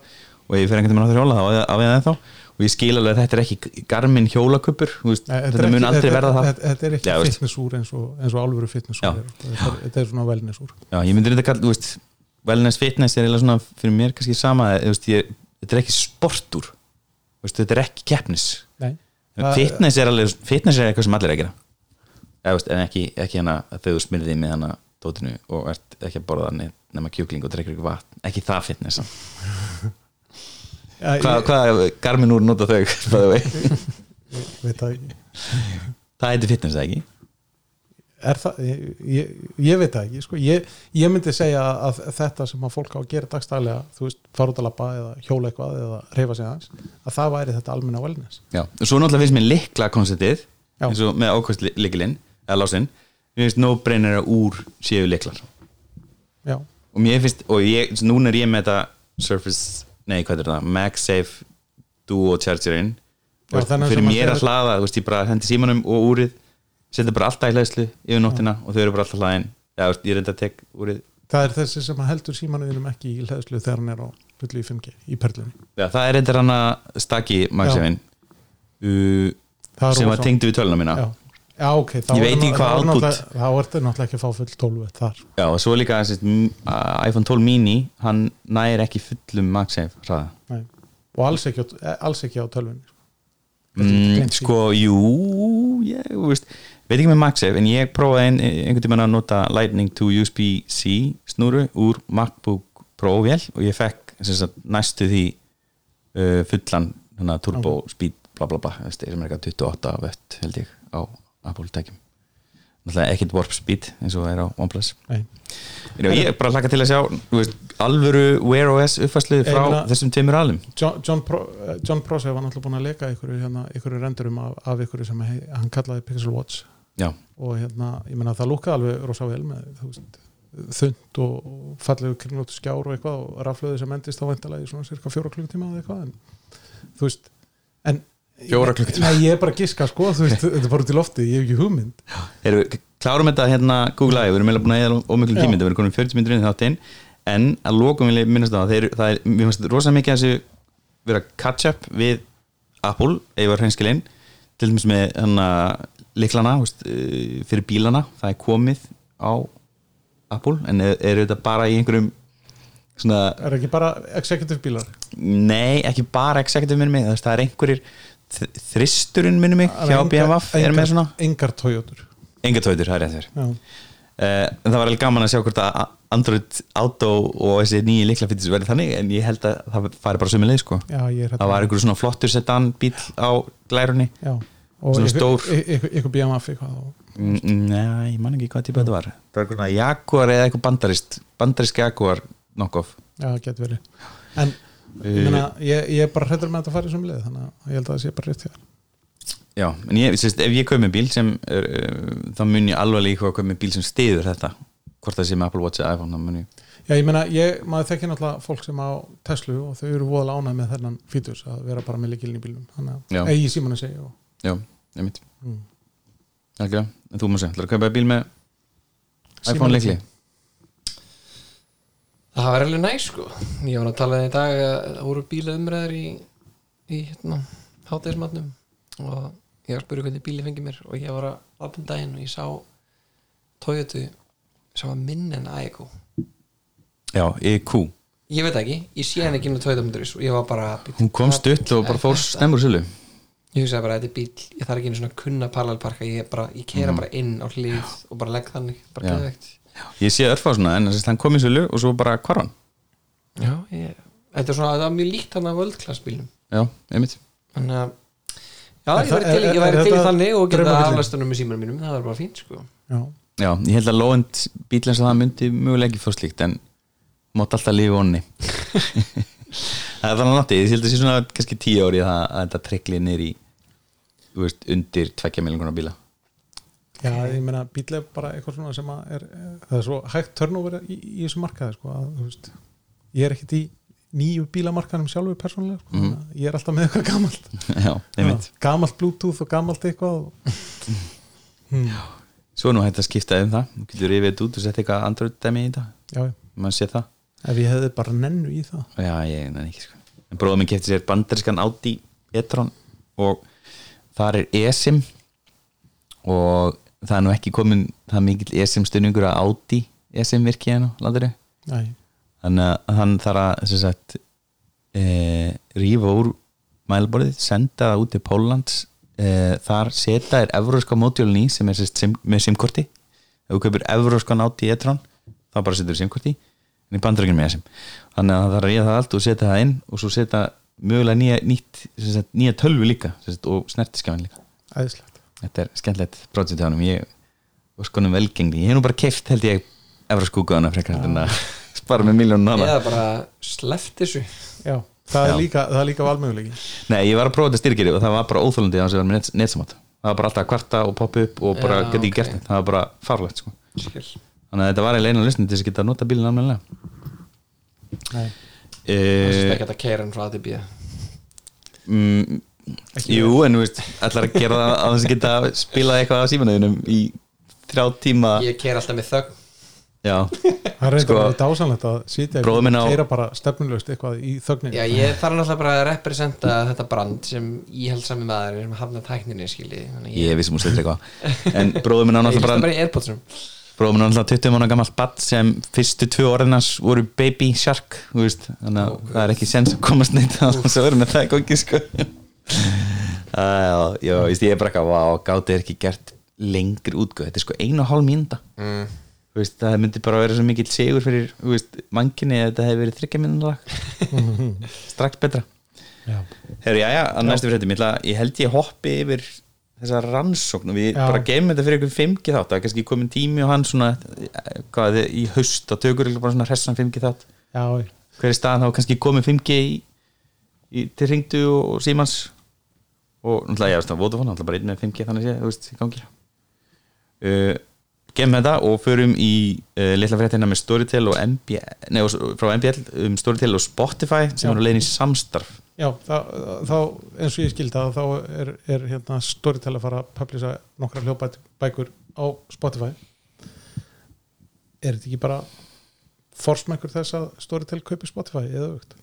S2: og ef ég fyrir einhvern veginn á það hjóla þá á ég- á ég það ennþá og ég skil alveg að þetta er ekki garminn hjólaköpur þú veist,
S3: Nei,
S2: þetta
S3: er
S2: mun
S3: ekki-
S2: aldrei verða það
S3: þetta- Þetta er ekki
S2: Já, þú veist.
S3: fitness úr eins og, eins og álfuru fitness
S2: Já.
S3: úr er. Þetta er- Þetta er svona wellness úr
S2: Já, ég myndi reynda að kalla, þú veist wellness fitness er eiginlega svona fyrir mér kannski sama, þú veist, ég, þetta er ekki sportur þú veist, þetta er ekki keppnis
S3: Nei,
S2: En fitness er alveg, fitness er eitthvað sem allir er að gera Eða, veist, en ekki, ekki hana að þau smyrði með hana tótinu og ert ekki að borða hann nema kjúkling og drekkur ykkur vatn ekki það fitness samt.
S3: Já,
S2: hvað
S3: ég-
S2: hva, garmin úr nota þau by the way?
S3: ég veit það ekki
S2: það heitir fitness eða ekki
S3: Er það, ég, ég, ég veit það ekki sko. ég, ég myndi segja að þetta sem að fólk á að gera dagstælega þú veist, fara út að labba eða hjóla eitthvað eða reyfa sig aðeins, að það væri þetta almenna wellness
S2: Já. og svo náttúrulega finnst mér likla konceptið
S3: Já.
S2: eins og með ákvæmst likilinn eða lásinn, mér finnst no-brainer að úr séu liklar
S3: já,
S2: og mér finnst, og ég, núna er ég með þetta Surface, nei hvað er það MagSafe Duo Chargerinn
S3: Já,
S2: Þú veist,
S3: þennan
S2: fyrir
S3: sem að
S2: mér að
S3: þegar-
S2: hlaða, þú veist, ég bara hendi símanum og úrið setja bara alltaf í hlæðslu yfir nóttina og þau eru bara alltaf hlaðin Já, þú veist, ég reynda að tek úrið
S3: það er þessi sem að heldur símanuðinum ekki í hlæðslu þegar hann er á fullu í 5G í perlunni
S2: Já, það er reyndar hann að stakki MagSafe-in uh,
S3: Það er
S2: sem
S3: rosa.
S2: var tengdu við töluna mína
S3: já, já ok, þá
S2: Ég
S3: er
S2: veit ekki
S3: nú-
S2: hvað
S3: þá er
S2: output-
S3: náttúrulega- þá er þetta náttúrulega ekki að fá full 12 þar,
S2: Já, og svo líka sérst, iPhone 12 mini hann næri ekki fullum MagSafe hraða
S3: e, nei og alls ekki, á- alls ekki á tölvunni sko.
S2: mm, sko, jú ég, þú veist, veit ekki með MagSafe en ég prófaði ein, einhvern tímann að nota Lightning to USB-C snúru úr MacBook Pro vél og ég fekk sem sagt, næstu því uh, fullan hana, turbo speed bla bla bla þú veist, sem er eitthvað 28 vett held ég á Apple tækjum náttúrulega ekkert warp speed eins og er á OnePlus
S3: Nei.
S2: en já, ég bara hlaka til að sjá þú veist, alvöru Wear OS uppfæslu
S3: Ég
S2: frá
S3: meina-
S2: þessum tveimur alum
S3: John, John, Pro, eh, John Prosser var náttúrulega búin að leika ykkur, hérna, ykkur rendurum af, af ykkur sem hei, hann kallaði Pixel Watch
S2: já,
S3: og hérna, ég meina það lúkaði alveg rosa vel með þú veist, þund og og fallegu kringlóttu skjár og eitthvað og raflöðu sem endist þá væntalega í svona cirka fjóra klukkutíma eða eitthvað en þú veist en,
S5: Fjóra klukkutíma.
S3: Nei, ég er bara að giska sko, þú veist, þetta er bara út í lofti, ég hef ekki hugmynd
S2: Heru, klárum þetta hérna Google Live, við erum meðlega búin að eða ómiklu
S3: Já.
S2: tími, þetta verður konum 40 minnur inn í þáttinn en að lokum vil ég minnast á það þeir, það er, mér finnst rosa mikið að þessu vera catch up við Apple, ef var hreinskilinn til dæmis með hana liklana veist, eh, fyrir bílana, það er komið á Apple en er, er þetta bara í einhverjum svona,
S3: er ekki bara executive bílar
S2: nei, ekki bara executive minnum mig, þú veist, það er einhverjir þ- þristurinn minnum mig hjá BMW er með svona,
S3: engar Toyotur
S2: engatautur, það er rétt fyrir
S3: já,
S2: Uh, en það var alveg gaman að sjá hvort að Android Auto og þessi nýju liklafittis verði þannig en ég held að það fari bara sömu leið sko.
S3: já, ég er hérna-
S2: það var einhver svona flottur sedan bíl á glærunni
S3: já, og
S2: Svona
S3: ykkur-
S2: stór.
S3: y- ykkur ykkur BMF eitthvað og
S2: Mm, Nei, ég man ekki hvað típa þetta var það var einhver svona Jaguar eða eitthvað bandarist bandarist Jaguar knockoff
S3: Já, það getur verið En ég,
S2: Eh.
S3: meina, ég, ég er bara hrettur með að þetta fari sem leið þannig að ég held að það sé bara rétt hjá þér.
S2: Já, en ég, sérst, ef ég kaup með bíl sem er, uh, þá mun ég alveg líka að kaup með bíl sem stiður þetta hvort það sé með Apple Watch eða iPhone þá mun ég
S3: Já, ég meina, ég, maður þekki náttúrulega fólk sem á Tesla og þau eru voðalega ánægð með þennan fíturs að vera bara með líkilin í bílum þannig
S2: Já.
S3: að, eða í síman að segja og,
S2: Já, ég mitt
S3: mm.
S2: Algjörlega, en þú maður segja, ætlar að kaupa bíl með iPhone
S3: Símann-
S2: leikli?
S4: Það var alveg næ sko Ég var að tala það í dag að það voru bíla umræðar í, í hérna, hátæðismatnum og ég var að spura hvernig bíli fengi mér og ég var að labbin daginn og ég sá Toyota sem var minn en Aiko
S2: Já, E EQ
S4: Ég veit ekki, ég sé hann ekki inn á Toyota.is og ég var bara bíll,
S2: Hún kom stutt og bara fór stemmur sýlu
S4: Ég hugsaði bara þetta er bíl, ég þarf ekki einu svona að kunna parallelparka ég, bara, ég kera bara inn á hlið og bara legg þannig, bara
S2: Mm. Já.
S4: geðvegt
S2: Ég sé örfa svona en þess að hann kom í sýlu og svo bara hvar hann
S4: Já, ég, þetta er svona, það var mjög líkt hann af völdklassbílnum
S2: Já, einmitt
S4: þannig að já,
S3: Er
S4: ég
S3: það-
S4: væri til,
S3: er-
S4: ég
S3: er- er
S4: væri til í
S3: þetta
S4: þannig og geta
S3: draumabíllinn?
S4: aflastunum með símanum mínum, það var bara fínt sko
S3: Já,
S2: Já, ég held að lóend bíl eins og það myndi mjögulega ekki fór slíkt en mátt alltaf lífi vonni Það er þannig að nátti ég held að sé svona kannski tíu ári að, að þetta trekli niður í þú veist, undir tvekja miljonar bíla
S3: já, ég meina, bíl er bara eitthvað svona sem að er, eh, það er svo hægt turnover í, í þessu markaði sko, að, þú veist, ég er ekkit í nýju bílamarkanum sjálfur persónulega sko,
S2: Mhm.
S3: þannig að ég er alltaf með eitthvað gamalt
S2: Já, einmitt
S3: Já, gamalt bluetooth og gamalt eitthvað og... hmm. já,
S2: Svo er nú hægt að skipta um það Þú getur yfir þetta út og setja eitthvað andröð dæmi í þetta
S3: já,
S2: Man sé það
S3: ef ég hefði bara nennu í það
S2: Já, ég nefn ekki sko En bróðum minn kefti sér bandarískan Audi e-tron og þar er eSIM og það er nú ekki komin það mikill eSIM stunningur að Audi eSIM virki hérna á landinu
S3: Nei.
S2: þannig að hann þarf að sem sagt, e, rífa úr mælborðið, senda það út til Póllands e, þar seta er evróska mótjólin í sem er sem, sagt sim, með simkorti ef þú kaupir evróskan átt í e-tron þá bara setur simkorti en í bandröginn með esim þannig að það þarf að ríða það allt og setja það inn og svo setja mögulega nýja, nýtt, sem sagt, nýja tölvu líka sem sagt, og snertiskefin líka
S3: Æðislegt
S2: þetta er skemmtilegt projekt hjá hann ég var skonum velgengni ég hef nú bara keift held ég evróskúkaðana frekar heldur en að spara með miljónu nála
S4: eða bara sleft þessu
S3: Já, það
S2: Já.
S3: er líka, það er líka valmöguleiki
S2: Nei, ég var að prófa þetta styrkir og það var bara óþólandi þannig að það var með net, netsamát það var bara alltaf að kvarta og poppa upp og bara
S4: Já,
S2: geti ekki
S4: ok.
S2: gert neitt, það var bara farlegt sko.
S4: Skil.
S2: þannig að þetta var eiginlega einu lusnið til þess að geta að nota bílinn almennilega
S3: Nei.
S4: það er
S2: e,
S4: ekki hægt að keira hann frá ADB
S2: ah. mm, Jú, en þú veist ætlar að gera það að þess að geta spilað eitthvað á símanauðinum í þrjá tíma
S4: ég keira alltaf með þögn
S2: Já,
S3: Það er reynda
S2: Sko,
S3: sko, dásanlegt að sitja
S2: bróðir minn á-
S3: Keira bara stefnulegst eitthvað í þögnin
S4: já,
S2: Eh.
S4: ég þarf náttúrulega bara að representa þetta brand sem ég held sami maður sem hafna tækninni skilji þannig
S2: ég vissum úr sleitir eitthvað en bróðum minn á
S4: ég
S2: náttúrulega
S4: hlusta
S2: bara
S4: bara í Airpodsum
S2: bróðum minn á náttúrulega 20 mánu gammal batt sem fyrstu tvö orðinans voru baby shark þú veist, þannig að það er ekki sens að komast neitt að þess að vera með það í gangi sko. já, já, veist, ég er bara eitthvað vá, gáti er ekki gert lengri útgöð þetta er sko einu og hálf mínúta mm. veist, það myndi bara vera svo mikill sigur fyrir þú veist, manginni að þetta hefði verið þryggja mínúta lag strax betra
S3: Já.
S2: Herru, já, já, að næstu fréttum ég, ætla- ég held ég hoppi yfir þessa rannsókn og við
S3: Já.
S2: bara geymum þetta fyrir ykkur 5G þátt það er kannski komin tími og hann svona eh, hvað, þið- í haust og tökur ykkur bara svona hressan 5G þátt
S3: Já,
S2: hver er staðan þá er kannski komið 5G í, í, til Ringdu og, og Simans og náttúrulega, já, veist það, Vodafone náttúrulega bara einn með 5G þannig sé, þú veist, í gangi uh, gemma þetta og förum í uh, litla fréttina með Storytel og MBL, nei, og s- frá MBL um Storytel og Spotify sem
S3: Já.
S2: eru leiðin í samstarf
S3: já þá, þá eins og ég skildi það þá er, er hérna Storytel að fara að publisa nokkra hljóðbækur á Spotify Er þetta ekki bara forsmækur þess að Storytel kaupi Spotify eða aukt?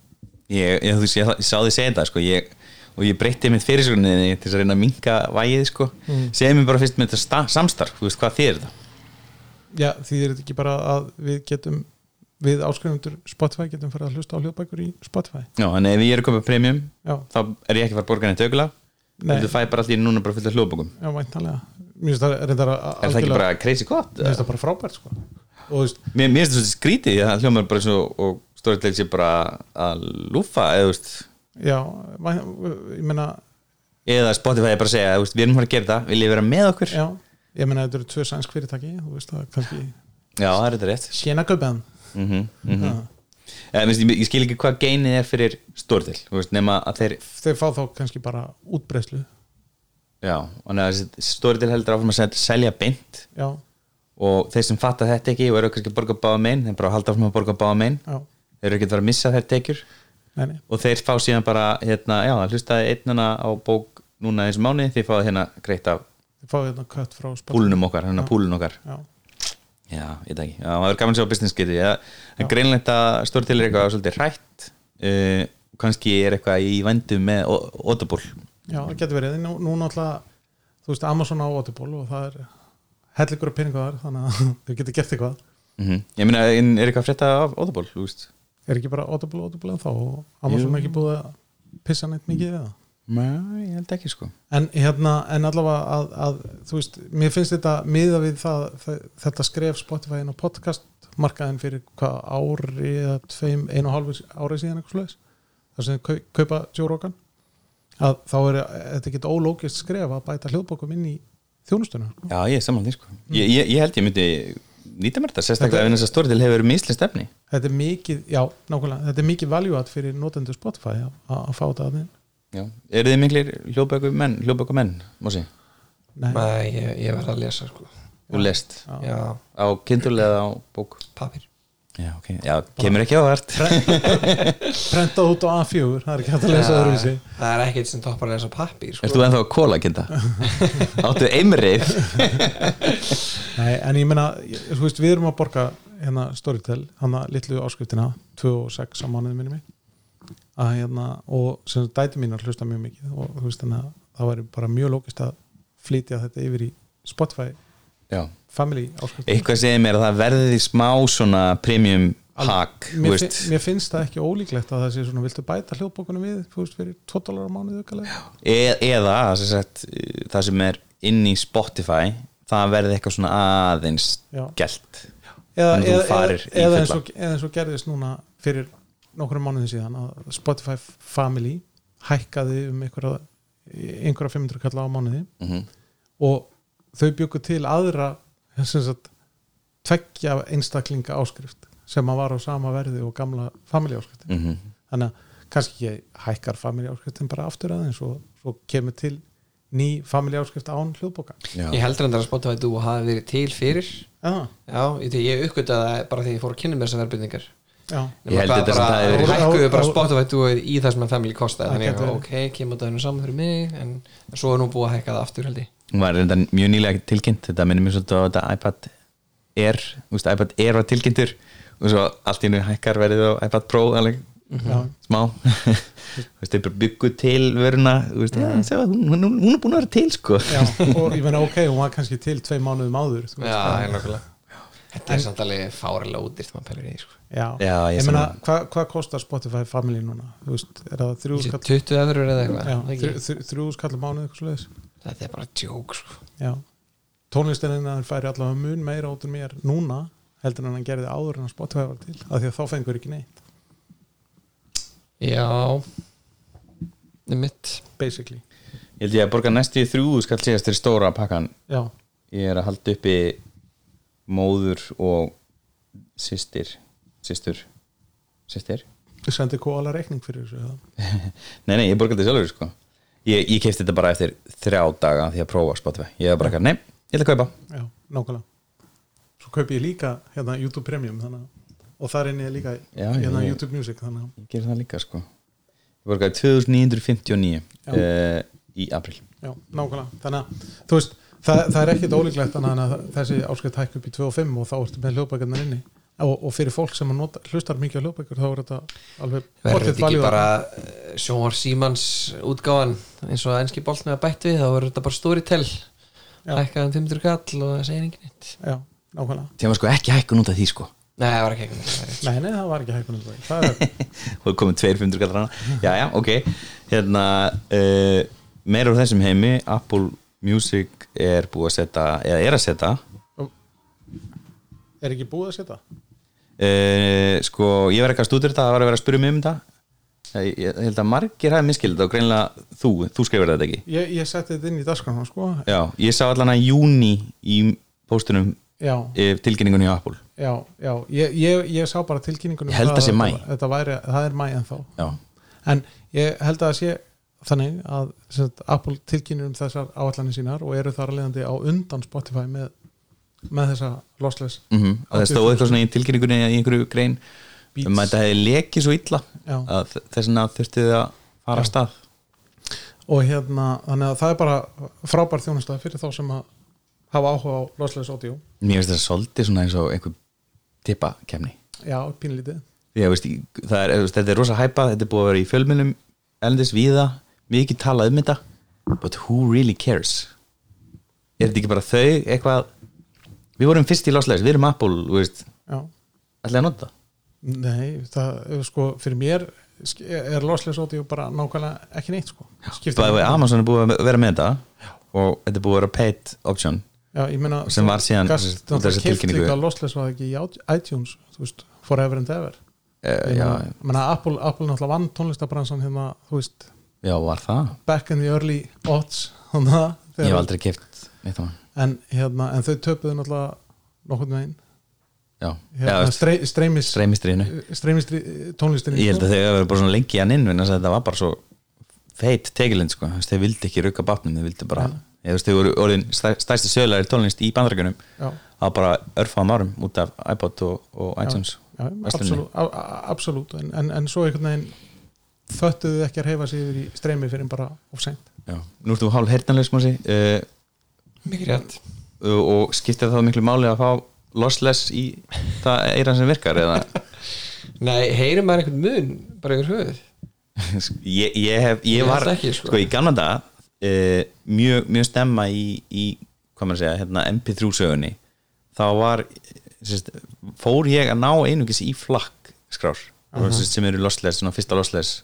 S2: ég, ég, þú, sé- ég, ég sá því segja þetta sko, ég, og ég breytti mitt fyrirsögninni til þess að reyna að minka vægið sko. mm. segja mér bara fyrst með þetta sta- samstarf þú veist hvað þið er þetta
S3: Já, því er þetta ekki bara að við getum við áskrifundur Spotify getum farið að hlusta á hljóðbækur í Spotify
S2: Já, en ef ég er að köpa premium
S3: Já,
S2: þá er ég ekki að fara að borga neitt aukula
S3: Nei.
S2: þú fæ bara allir núna bara fullt af hljóðbókum
S3: já, væntanlega Mér finnst það reyndar að
S2: er það ekki
S3: algjörlega-
S2: bara crazy gott?
S3: Mér finnst það bara frábært sko og þú veist,
S2: mér, mér finnst þetta svolítið skrítið því að það hljómar bara svo og stóriðlega sé bara að lúfa eða, þú veist,
S3: já, væn, ég meina
S2: eða Spotify er bara að segja þú veist, við erum að fara að gera það, viljið vera með okkur já,
S3: Já, ég meina þetta eru tvö sænsk fyrirtæki þú veist það er kannski
S2: það er þetta rétt
S3: Sjena Gauben
S2: mm -hmm,
S3: mm.
S2: Eða, minnst, ég, ég skil ekki hvað geinið er fyrir stóriðlega nema að þeir
S3: þeir fá þá kannski bara útbreyslu
S2: Já, og neða stóriðil heldur áfram að sel- selja beint
S3: já,
S2: og þeir sem fatta þetta ekki og eru kannski að borga báða megin, þeir bara halda áfram að borga báða megin
S3: já,
S2: þeir eru ekki að fara að missa þær tekjur
S3: nei, nei,
S2: og þeir fá síðan bara, hérna, já, hlustaði einnana á bók núna eins og mánu þeir fáið hérna greitt af
S3: þeir fá þetta kött frá Spotify.
S2: púlunum okkar, hérna púlun okkar
S3: já,
S2: Já, ég veit ekki, já, maður er gaman að sjá business getið, já, en greinlegt að stórtil er eitthvað svolítið hrætt uh, kannski er eitthvað í vendum með Au- Audible
S3: já, það getur verið nú, nú náttúrulega, þú veist Amazon á Audible og það er hellingur að pinningu þar, þannig að þau getur gert eitthvað
S2: mm Ég meina, en er eitthvað að frétta af Audible, þú veist?
S3: er ekki bara Audible, Audible en þá og Amazon
S2: Jú.
S3: ekki búið að pissa neitt mikið við það
S2: Nei, ég held ekki, sko
S3: En hérna, en allavega að, að þú veist, mér finnst þetta miða við það, það þetta skref Spotify inn á podcast markaðin fyrir hvað ári eða tveim, einu og hálfu ári síðan eitthvað slags, þar sem þau kau- kaupa Joe Rogan, að þá er þetta ekki ólókist skref að bæta hljóðbókum inn í þjónustuna.
S2: Já, ég er samanlega því sko ég, ég, ég held ég myndi nýta mér þetta sérstaklega ef þess að stórtil hefur verið mislið stefni
S3: Þetta er mikið, já, nákvæmlega, þetta er mikið valjúat fyrir notendur Spotify að, að að fá þetta að þinn.
S2: Já, eru þið miklir hljóðbæku menn hljóðbæku menn, Mósi,
S3: Nei,
S4: Nei, ég, ég verð að lesa sko
S2: og lest
S3: Já.
S4: Já,
S2: á kindul eða á bók
S4: pappir
S2: Já, ok, já, kemur ekki á þart
S3: prenta út á A4, það er ekki hægt að lesa það rúsi.
S4: Það er ekkert sem toppar að lesa pappir sko.
S2: Ert þú ennþá að kóla kinda? Áttu eimrið?
S3: Nei, en ég meina, ég- þú veist, við erum að borga hérna Storytel, hana litlu áskriftina 2 og 6 á mánuði minni mig að hérna, og sem sagt, dæti mínar hlusta mjög mikið og þú veist, þannig að það væri bara mjög lókist að flytja þetta yfir í Spotify
S2: Já,
S3: family áskriftina
S2: eitthvað segir mér að það verði því smá svona premium hack, þú
S3: mér,
S2: veist
S3: fin, mér finnst það ekki ólíklegt að það sé svona, viltu bæta hljóðbókunum við, þú veist, fyrir 2 dólar á mánuði aukalega?
S2: e eða sem sagt, það sem er inn í Spotify það verði eitthvað svona aðeins
S3: Já.
S2: gælt
S3: Eða,
S2: En þú
S3: eða,
S2: farir
S3: eða,
S2: í fulla.
S3: eða, eins og, eða eins og gerðist núna fyrir nokkrum mánuðin síðan að Spotify family hækkaði um einhverja, einhverja 500 kalla á mánuði
S2: mm
S3: og þau byggu til aðra sem sagt tveggja einstaklinga áskrift sem að var á sama verði og gamla family áskriftin
S2: mm -hmm.
S3: þannig að kannski ekki hækkar family áskriftin bara aftur aðeins og svo kemur til ný family áskrift án hljóðbóka
S4: Ég heldur endur að Spotify Duo hafi verið til fyrir
S3: Já,
S4: Já, ég, veit, ég uppgötaði það bara því ég fór að kynna mér þessar verðbyrningar
S3: já,
S2: Ég held þetta sem það
S4: það
S2: hefur
S4: er
S3: verið-
S4: Hækkuðu bara
S3: Á- á-
S4: Spotify Duo í það sem að family
S3: Það
S4: kostaði Þannig
S3: gæti
S4: að
S3: verið.
S4: ok, kemur það nú saman fyrir mig En en svo er nú búið að hækka það aftur held ég
S2: hún var reynda mjög nýlega tilkynnt þetta minnir mér svolítið á þetta iPad Air þú veist, iPad Air var tilkynntur og svo allt í nú hækkar verið á iPad Pro alveg
S3: já,
S2: smá þú veist, þeir bara byggu til vöruna þú veist, já, sjá, hún, hún, hún er búin að vera til sko
S3: já og ég meina ok, hún var kannski til tvei mánuðum áður þú veist,
S4: Já,
S3: það-
S4: nokkulega Þetta er samt alveg fárilega útýrt maður pælir í því, sko.
S3: já,
S2: Já, ég
S3: ég meina,
S2: sammála.
S3: hvað hva kostar Spotify Family núna, þú veist, er það þrjú
S4: Þessi
S3: skall
S4: 20 öðrur eða eitthvað
S3: já,
S4: ekki?
S3: þrjú- þrjú- þrjú skall á mánuð eitthvað svoleiðis.
S4: Þetta er bara djók sko.
S3: já, tónlistininn hann færi allavega mun meira út um mér núna heldur en hann gerði áður en að Spotify var til af því að þá fengur ekki neitt,
S4: Já Það er mitt
S3: basically
S2: Ég held ég að borga næstu í þrjú skall síðast til stóra pakkan
S3: já,
S2: Ég er að halda uppi móður og systir Systur Systir?
S3: sendi kóala reikning fyrir þessu eða?
S2: Nei, nei, ég borga þetta sjálfur sko Ég, ég kefti þetta bara eftir þrjá daga því að prófa Spotify Ég hef bara ekki, nei, ég ætla að kaupa
S3: já, nákvæmlega svo kaupi ég líka hérna YouTube Premium þannig, að- og þar inn ég líka
S2: Já,
S3: hérna
S2: ég-
S3: YouTube Music þannig,
S2: Ég ger það líka sko Ég borgaði 2959
S3: Já.
S2: uh, í april
S3: að- já, nákvæmlega þannig að, þú veist, það, það er ekkit ólíklegt þannig að þessi áskrift hækku upp í 2 og 5 og þá ertu með hljóðbækarnar inni og, og fyrir fólk sem að nota, hlustar mikið á hljóðbækur þá er þetta alveg
S4: Verður
S3: pottþétt
S4: þetta ekki
S3: value
S4: bara Sjónar Símans útgáfan eins og enski boltnum að bætt við þá verður þetta bara storytell
S3: Já.
S4: Hækkaðan 500 kall og það segir enginn eitt
S3: já, nákvæmlega
S2: Þegar maður sko ekki hækkun út af því sko
S4: Nei, það var ekki ekki það var rétt.
S3: nei, nei, það var ekki hækkun alveg. það er,
S2: og það komið 200 kallar hana já, já, ok hérna, uh, meira úr þessum heimi Apple Music er búið að setja eða er að setja
S3: er ekki búið að setja
S2: uh, sko, ég verði ekki að stúdur þetta það var að vera að spyrja mig um þetta ég, ég held að margir hafi miskilið þetta og greinlega þú, þú skrifir þetta ekki
S3: ég, ég setti þetta inn í dasgrána sko
S2: já, ég sá allan að júni í póstunum
S3: já,
S2: eh, tilkynningunni á Apple
S3: já, já ég, ég, ég sá bara tilkynningunum
S2: Ég held
S3: það
S2: að sé
S3: þetta-
S2: maí.
S3: þetta væri, það er mæ en þá
S2: já,
S3: En ég held að það sé þannig að sem sagt, Apple tilkynir um þessar áallanir sínar og eru þar alvegandi á undan Spotify með, með þessa lossless
S2: mm og það stóð eitthvað svona í tilkynningunni í einhverju grein
S3: Beats.
S2: um að þetta hefði lekið svo illa
S3: Já.
S2: að þ- þess vegna þurfti þið að fara af stað
S3: og hérna, þannig að það er bara frábær þjónustaf fyrir þá sem að hafa áhuga á lossless audio
S2: Mér finnst það svolítið svona eins og einhver tippakemni
S3: já, pínlítið,
S2: Því að veist, í- það er, veist, þetta er rosa hæpað, þetta er búið að vera í fjölmjölum elendis viða, mikið talað um þetta but who really cares er þetta ekki bara þau eitthvað, við vorum fyrst í losleis við erum Apple, þú veist,
S3: já
S2: ætlaði að nota það?
S3: nei, það, sko, fyrir mér sk- er lossless audio bara nákvæmlega ekki neitt, sko Skiptir
S2: By the way,
S3: ekki.
S2: Amazon er búið að vera með þetta og þetta er búið að vera paid option
S3: Já, ég meina,
S2: Sem var síðan-
S3: gast,
S2: út af
S3: það
S2: þessari
S3: kipt
S2: tilkynningu.
S3: líka lossless var það ekki í át- iTunes, þú veist, forever and ever
S2: uh,
S3: Ég
S2: já,
S3: meina- ég meina, Apple, Apple náttúrulega vann tónlistabransan hérna, þú veist,
S2: já, var það?
S3: back in the early odds þannig að
S2: Ég hef
S3: þegar-
S2: aldrei keft neitt á hann
S3: en, hérna, en þau töpuðu náttúrulega nokkurn veginn
S2: Já,
S3: hérna,
S2: já
S3: strey, streymis,
S2: streymistriðinu
S3: streymis tónlistin
S2: ég held að þau hafa verið bara svona lengi hann inn þannig að þetta var bara svo feit tegilind sko, Þú veist, þau vildi ekki rauka bátnum þau vildi bara, eða þú veist, þau voru orðin stær, stærsti sögulegri tónlist í bandarækjunum
S3: Já.
S2: á bara örfáðum árum út af iPod og, og iTunes versluninni.
S3: absolutt, absolutt en, en, en svo einhvern veginn föttuðu þau ekki að reyfa sig yfir í streymi fyrir en bara of seint
S2: Já. nú ertu hálf hertanlega smási uh,
S4: Mikið rétt
S2: og skiptir það miklu máli að fá lossless í það eira sem virkar eða
S4: Nei, heyrir maður einhvern mun bara yfir höfuð
S2: ég, ég hef, ég,
S4: Ég
S2: var
S4: held ekki, sko.
S2: sko. í gamla dag e, mjög, mjög stemma í, í hvað maður að segja, hérna MP3 sögunni þá var sérst, fór ég að ná einungis í flakk skrár, uh sem eru lossless, svona fyrsta lossless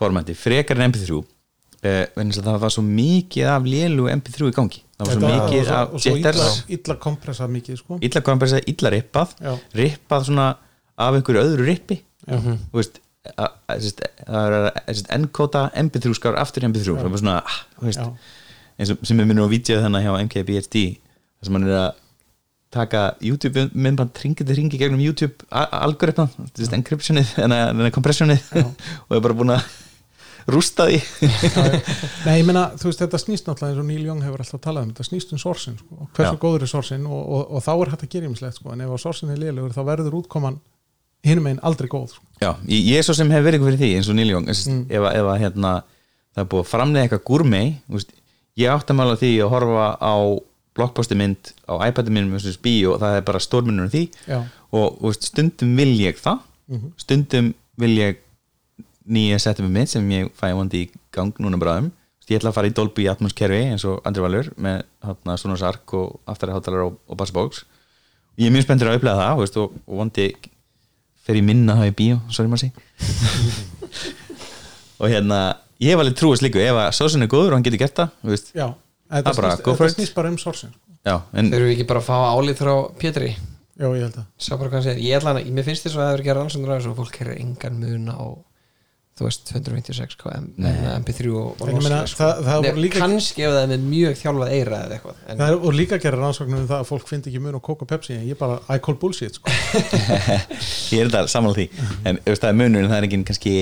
S2: formandi, frekar en MP3 e, vegna þess að það var svo mikið af lélu MP3 í gangi, það var svo
S3: Þetta-
S2: mikið
S3: og svo-
S2: af
S3: og svo illa,
S2: jitters
S3: illa kompressað mikið sko.
S2: illa hvað maður að segja, illa rippað
S3: Já.
S2: rippað svona af einhverju öðru rippi
S3: Mhm.
S2: þú veist að- að- sérst, það er að enkóta mp3 skár aftur í mp3 það var svona, ah, þú veist,
S3: Já.
S2: eins og sem er minnum á vídeo þannig hjá MKBHD þar sem hann er að taka YouTube myndband ringið til ringið gegnum YouTube algoritma, sérst, encryptionið þannig að kompressionið og er bara búin að rústa því
S3: Nei, ég meina, þú veist, þetta snýst náttúrulega eins og Neil Young hefur alltaf talað um, þetta snýst um sorsin sko. og hversu
S2: Já.
S3: góður er sorsin og, og, og þá er hægt að gera ymmislegt, sko. en ef að sorsin er lélugur þá verður útkoman hinum einn aldrei góð sko.
S2: Já, ég, ég er svo sem hef verið eitthvað fyrir því eins og Neil Young, eins, mm. ef, að- ef að hérna, það er búið að framlega eitthvað gúrmei veist, ég átti að mála því að horfa á blockposti mynd á iPad-i minn versus bíó, það er bara stórmunur um því
S3: Já.
S2: og þú veist, stundum vil ég það stundum vil ég nýja setjum mitt sem ég fæ vondi í gang núna bráðum Þú veist, ég ætla að fara í Dolby Atmos kerfi eins og Andri Valur með hérna, Sonos Arc og aftari hátalara og, og Bassbox ég er mjög spenntur að upplega það veist, og, og vondi fer ég minna það í bíó sorry Marci og hérna ég hef alveg trúið slíku ef að sósun er góður og hann getur gert það þú veist.
S3: já,
S2: Það
S3: þetta
S2: bara,
S3: snýst,
S2: go for
S3: þetta
S2: it.
S3: snýst bara um sorsin sko.
S2: já, en
S4: Þurfum við ekki bara að fá álið frá Pétri
S3: já, ég held að
S4: Sá bara hvað hann segir Ég ætla hann, mér finnst þess að það er ekki að rannsóknur að þessu og fólk er engan mun á þú veist, 256 hvað M- MP3 og, og
S3: En ég meina,
S4: lossless,
S3: það- það
S4: Nei,
S3: voru líka-
S4: kannski ef það er með mjög þjálfað eira eða eitthvað en,
S3: Það er, og líka gera rannsóknum um það að fólk finnst ekki mun og kóka pepsi en ég bara, I call bullshit sko.
S2: ég er þetta samanlega því en þú veist, það er munur en það er enginn kannski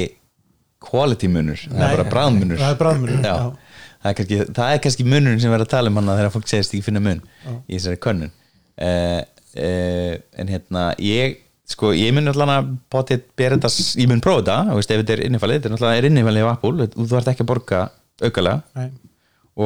S2: quality munur, það
S3: Nei.
S2: er bara bráðmunur
S3: Það er bragðmunur,
S2: já.
S3: já.
S2: Það, er kannski, það er kannski munurinn sem verður að tala um hana þegar fólk segist ekki finna mun í þessari könnun uh, uh, en hérna ég sko, ég mun allan að potið bera þetta, s- ég mun prófa þetta þú veist, ef þetta er innifalið, þetta er náttúrulega er innifalið af Apple, þú þú ert ekki að borga aukalega
S3: Nei.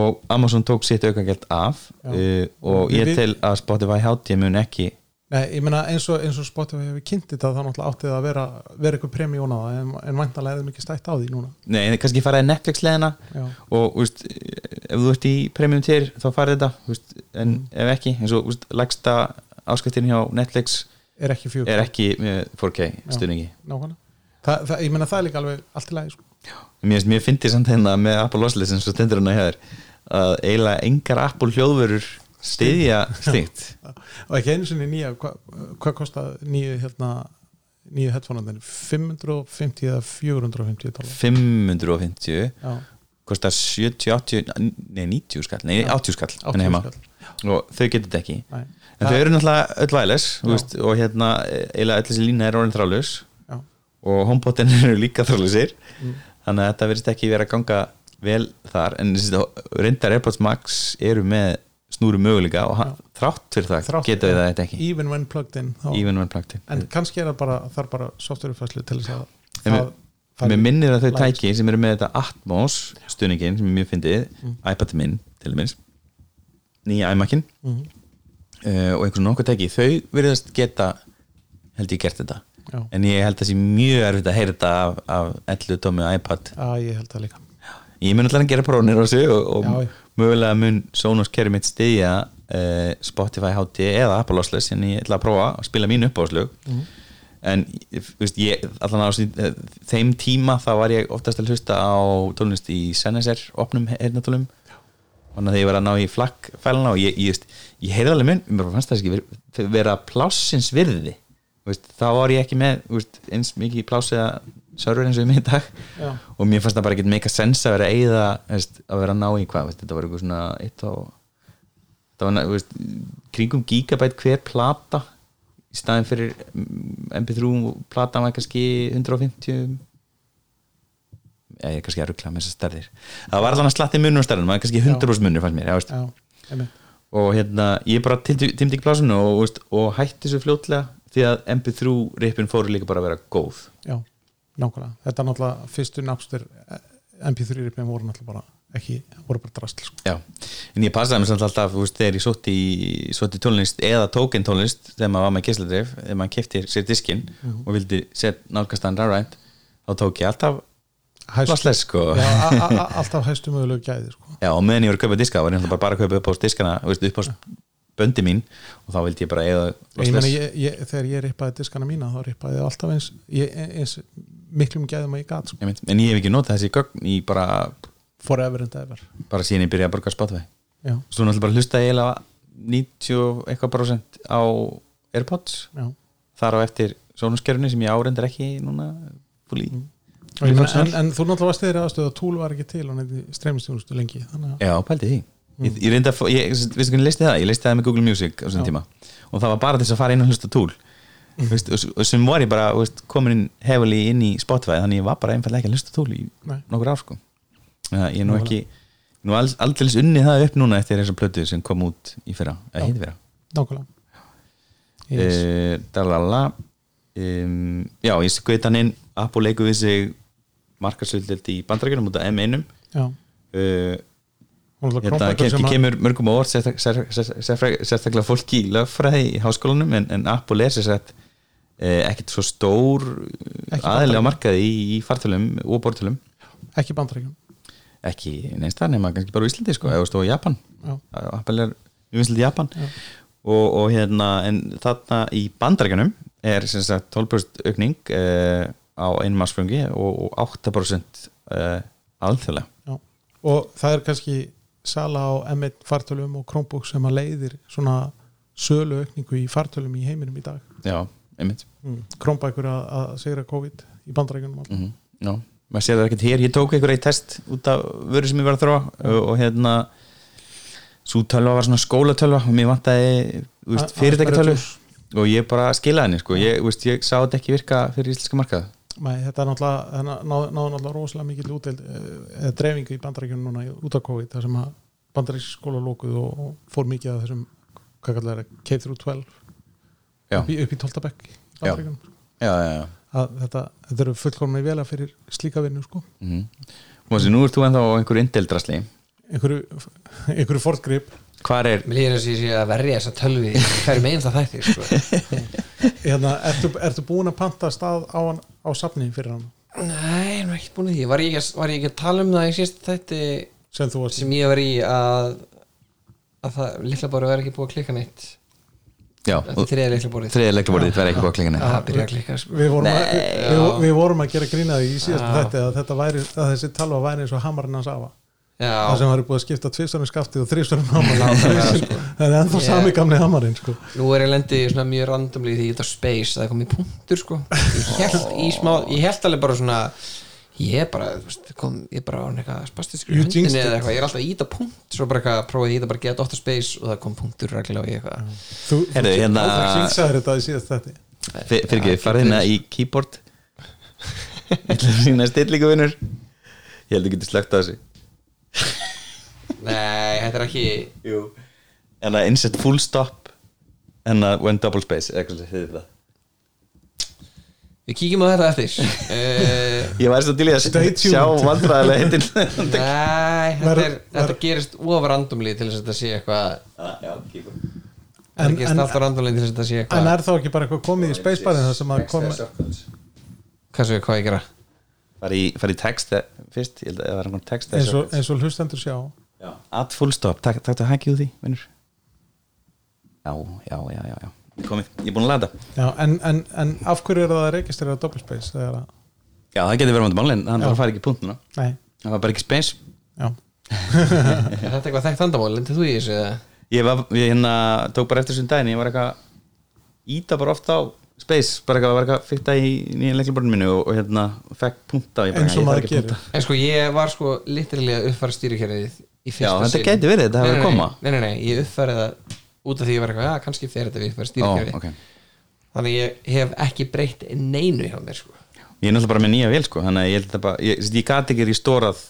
S2: og Amazon tók sitt aukagjöld af uh, og
S3: Við-
S2: ég
S3: við-
S2: tel að Spotify hátíð mun ekki
S3: Nei, ég meina eins og, eins og Spotify hefur kynnt þetta þá náttúrulega átti það að vera, vera eitthvað premjón á það en, en væntanlega hefur mikið stætt á því núna
S2: Nei, kannski faraði Netflix leðina
S3: Já.
S2: og úst, ef þú ert í premium tier þá farið þetta úst, en
S3: Mm.
S2: ef ekki, eins og úst, lagsta áskiptin hjá Netflix
S3: er ekki fjögur
S2: er ekki með 4K stuðningi
S3: nákvæmlega Þa, það, ég meina það er líka alveg allt í lagi sko.
S2: Mér finnst mér fyndi samt hérna með Apple Lossless eins og stendur hann að hefur að eiginlega engar Apple hljóðverur stiðja stíkt
S3: og ekki einu sinni nýja hva- hvað kosta nýju hérna, nýju headphoneandinn 550 eða 450 dólar
S2: 550
S3: já,
S2: kostar 70, 80 nei 90 skall, nei 80 skall,
S3: 80
S2: 80 skall.
S3: skall.
S2: og þau getur þetta ekki
S3: Nei.
S2: en þau eru náttúrulega öll væles veist, og hérna, eila öll þessi lína er orðin þrálaus
S3: já,
S2: og homepotin eru líka þrálausir
S3: Mm.
S2: þannig að þetta verðist ekki vera að ganga vel þar, en þessi reyndar AirPods Max eru með snúru möguleika og hann, þrátt fyrir það
S3: Þrátt-
S2: geta við það ekki,
S3: even when plugged in þá.
S2: even when plugged in
S3: en kannski er það bara, það er bara softwareuppfæslu til þess að
S2: En
S3: það- það-
S2: mér minnir að þau
S3: lagast.
S2: tæki sem eru með þetta Atmos stuðningin sem er mjög fyndið
S3: Mm.
S2: iPad minn til dæmis nýja iMac-in
S3: Mhm.
S2: uh, og einhvern nokkuð tæki þau virðast geta held ég gert þetta
S3: Já.
S2: en ég held að sé mjög erfitt að heyra þetta af, af 11 tómi iPad
S3: að ég held það líka
S2: ég mun alltaf að gera prónir á þessu og, og
S3: Já, já.
S2: mögulega mun Sonos kerfi mitt stiðja uh, Spotify HD eða Apple Lossless en ég ætla að prófa að spila mín uppáðslög
S3: Mhm.
S2: en þú veist, ég, allan á þessu- eh, þeim tíma þá var ég oftast að hlusta á tónlist í Sennheiser opnum heyrnatólum þannig að ég var að ná í flaggfæluna og ég, ég, ég, ég heyrði alveg mun mér fannst það ekki ver- vera plássins virði Þú veist, þá var ég ekki með þú veist, eins mikið pláss eða server eins og ég er með í dag
S3: Já.
S2: og mér fannst það bara ekki meika sens að vera að eyða þú veist, að vera að ná í hvað þú veist, þetta var eitthvað svona eitt á það var þú veist, kringum gigabæt hver plata í staðin fyrir mm, mp3 og platan var kannski 150 eða ég er kannski að rugla með þessar stærðir það var allan að slatti munur og stærðin maður er kannski 100% munur fannst mér já, veist.
S3: já, einmitt
S2: og hérna ég bara týmdi týmdi ekki plásinu og, þú veist, og hætti þessu fljótlega því að mp3 ripin fóru líka bara að vera góð
S3: Já, nákvæmlega. Þetta er náttúrulega fyrstu e, nápstur MP3-ripin voru náttúrulega bara ekki, voru bara drastl sko.
S2: Já, en ég passaði mig samt alltaf þú veist, þegar ég sótti, í- sótti tónlist eða tókin tónlist þegar maður var með gísladreif þegar maður kefti sér diskinn
S3: Mhm.
S2: og vildi set nálgast hann rafrænt þá tók ég alltaf Lossless, sko.
S3: Já, a- a- a- alltaf hæstu mögulegu gæði sko.
S2: Já, og meðan ég var að kaupa diska þá var ég náttúrulega bara, bara að kaupa upp á diskana þú veist, upp á böndi mín og þá vildi ég bara eða
S3: Ég meni, ég, ég, þegar ég rippaði diskana mína þá rippaði ég alltaf eins, ég, eins miklum gæðum að ég gat sko.
S2: Ég mynd, en ég hef ekki notað þessi gögn í bara,
S3: forever and ever
S2: bara síðan ég byrjaði að borga spotvæði
S3: já,
S2: svo náttúrulega bara hlustaði ég eiginlega 90 og eitthvað prosent á Airpods
S3: já.
S2: þar á eftir sónuskerfni sem ég árendar ekki núna fúli
S3: Og ég Meni, en, en þú náttúrulega varst þeirra aðstöð að túl var ekki til og neitt streymistunstu lengi þannig að
S2: Já, pældi því Ég, ég reyndi að, fá- ég, veistu hvernig listi það? Ég listi það með Google Music á þessum tíma og það var bara til þess að fara inn og hlusta túl veist, og, og sem var ég bara veist, komin inn hefali inn í Spotify þannig ég var bara einfallega ekki að hlusta túl í
S3: Nei.
S2: nokkur ár sko Þannig að ég er nú ekki nú alls, aldrei unni það upp núna eftir þessar plötu sem kom út í fyrra, eða hitt fyrra
S3: nákvæmlega yes.
S2: yes. Eh, dalala um, já, ég skauði hann inn Apple leikur við sig markarsöldelt í bandarækjunum út af M1
S3: já,
S2: uh,
S3: hún er
S2: hérna,
S3: náttúrulega
S2: kem,
S3: sem að
S2: kemur mörgum á orð sérstak- sér- sér- sér- sérstaklega fólki í lögfræði í háskólanum en, en Apple er sér sett eh, ekkert svo stór
S3: Ekki
S2: aðilega markaði í, í fartölum og bortölum
S3: ekki bandarækjum
S2: ekki neins það nema kannski bara á Íslandi sko, eða þú veist, og Japan
S3: Já.
S2: Apple er umvinslega Japan og, og hérna, en þarna í bandarækjunum er sem sagt 12% aukning uh, á einmarsfrungi og, og 8% uh, alþjóðlega
S3: Já. og það er kannski sala á M1 fartölum og Chromebook sem að leiðir svona sölu aukningu í fartölum í heiminum í dag
S2: já, einmitt
S3: mm. Chromebækur að, að segra COVID í bandarækjunum mm.
S2: mm já, maður sér það ekkert hér ég tók einhverja í test út af vöru sem ég var að þróa og, og hérna svo tölva var svona skólatölva og mér vantaði þú veist,
S3: A-
S2: fyrirtækjartölvu
S3: aðferðatúr.
S2: og ég bara skilaði henni sko. ég, þú veist, ég sá þetta ekki virka fyrir íslenska markað
S3: Nei, þetta er náttúrulega það ná- náðu náttúrulega rosalega mikil útdeild eh, eða dreifingu í bandarækjunum núna í- út af COVID þar sem að bandarækjaskóla lókuð og, og fór mikið að þessum hvað kallar það, K-12
S2: já,
S3: upp í, upp í 12. bekk í
S2: Já.
S3: Bandaríkjunum.
S2: já, já, já.
S3: að þetta, þetta eru fullkomna í vela fyrir slíka vinnu sko
S2: Mm. og þessi nú ert þú ennþá á einhverju indeldrasli
S3: einhverju, einhverju fortgrip
S2: hvar er
S4: Mér líður eins og ég sé að verja þessa tölvi hverjum einn það þættir sko.
S3: hérna, ertu, ertu búin að panta stað á, hann, á safni fyrir hann
S4: Nei, nú er ekki búin að því Var ég ekki, var ég ekki að tala um það í síst þætti
S3: sem þú varst
S4: sem ég var í að að það litla bóri var ekki búið að klikka neitt
S2: já,
S4: Þetta er þriða litla bórið
S2: þriðja leikluborðið verði ekki búið að klinga neitt
S3: Ah,
S4: Það byrja að klikka sko.
S3: við vorum, að,
S2: Nei.
S3: við, við vorum að gera grínaði í síðast
S4: Já.
S3: þetta að, þetta væri, að þessi talva væri eins og hamarinn hans afa það
S4: Já,
S3: sem væri búið að skipta tvistunum skaftið og þristunum hamarinn það
S2: sko.
S3: er ennþá
S4: Ég-
S3: sami gamli hamarinn sko.
S4: nú er ég lendið svona mjög randomli því ég þetta space, það er komið punktur sko. ég held í smá, ég held alveg bara svona ég bara, þú veist, kom, ég bara á eitthvað spastiskur
S3: You
S4: hundinni
S3: jinxed
S4: eða
S3: it.
S4: eitthvað, ég er alltaf að íta punkt svo bara eitthvað, prófaði ég íta bara að geta 8 space og það kom punktur reglulega og ég eitthvað
S3: þú
S2: Heyrðu, hérna-
S3: kynnsaður þetta í síðast þetta
S2: fyrir ekki, farið hérna í keyboard ég ætla að sína stillingu vinnur ég held að getur slögt að þessu
S4: Nei, þetta er ekki
S2: Jú En að insert full stop En að when double space eða eitthvað sem heitir það.
S4: Við kíkjum á þetta eftir uh,
S2: Ég væri svo til í að
S3: Stay tuned.
S2: sjá vandræðilega heitin
S4: Nei, þetta,
S3: Verð-
S4: er, þetta
S3: verð-
S4: gerist ofar randomli til þess að þetta sé eitthvað
S2: Ah, Já, kýpa
S4: Þetta
S3: En-
S4: gerist
S3: en-
S4: alltaf randomli til þess að þetta sé
S3: en
S4: eitthvað
S3: er þá ekki bara eitthvað komið í spacebarinn það sem að koma
S4: Hvað svo, hvað ég gera?
S2: Fari í, fari í text eh, fyrst Ég held að það var einhvern text
S3: eins og, eins og hlustendur sjá
S2: Já. At full stop, takk tak, tak, hækki úr því vinnur Já, já, já, já, já Komið, ég er búin að lata
S3: Já, en, en, en af hverju er það að registrera double space þegar að,
S2: Já, það getur verið vandamál En hann
S3: Já.
S2: þarf að fara ekki í punktuna
S3: nei,
S2: Það var bara ekki space
S3: já
S4: Er þetta eitthvað þekkt andamál? Lendið þú í þessu? eða?
S2: Ég, var, ég hérna, tók bara eftir þessum daginn Ég var eitthvað Íta bara ofta á space Bara eitthvað var eitthvað fyrta í nýja leikluborðinu mínu Og, og hérna, fekk punta ég bara,
S3: eins
S2: ég þarf
S3: og maður
S2: ekki að
S3: gerir
S2: punkta.
S4: En sko, ég var sko litrilega uppfæra stýrikerfið í fyrsta
S2: Já, þetta
S4: sinn.
S2: gæti verið, þetta hafi
S4: Nei, nei,
S2: verið að koma.
S4: Nei, nei, nei, ég uppfæra það út af því ég var eitthvað, já, kannski fer þetta við uppfæra stýrikerfið
S2: Ó, ok.
S4: Þannig ég hef ekki breytt neinu hjá mér sko.
S2: Ég er náttúrulega bara með nýja vél sko Þannig að ég, held þetta bara, ég, ég gati ekki restórað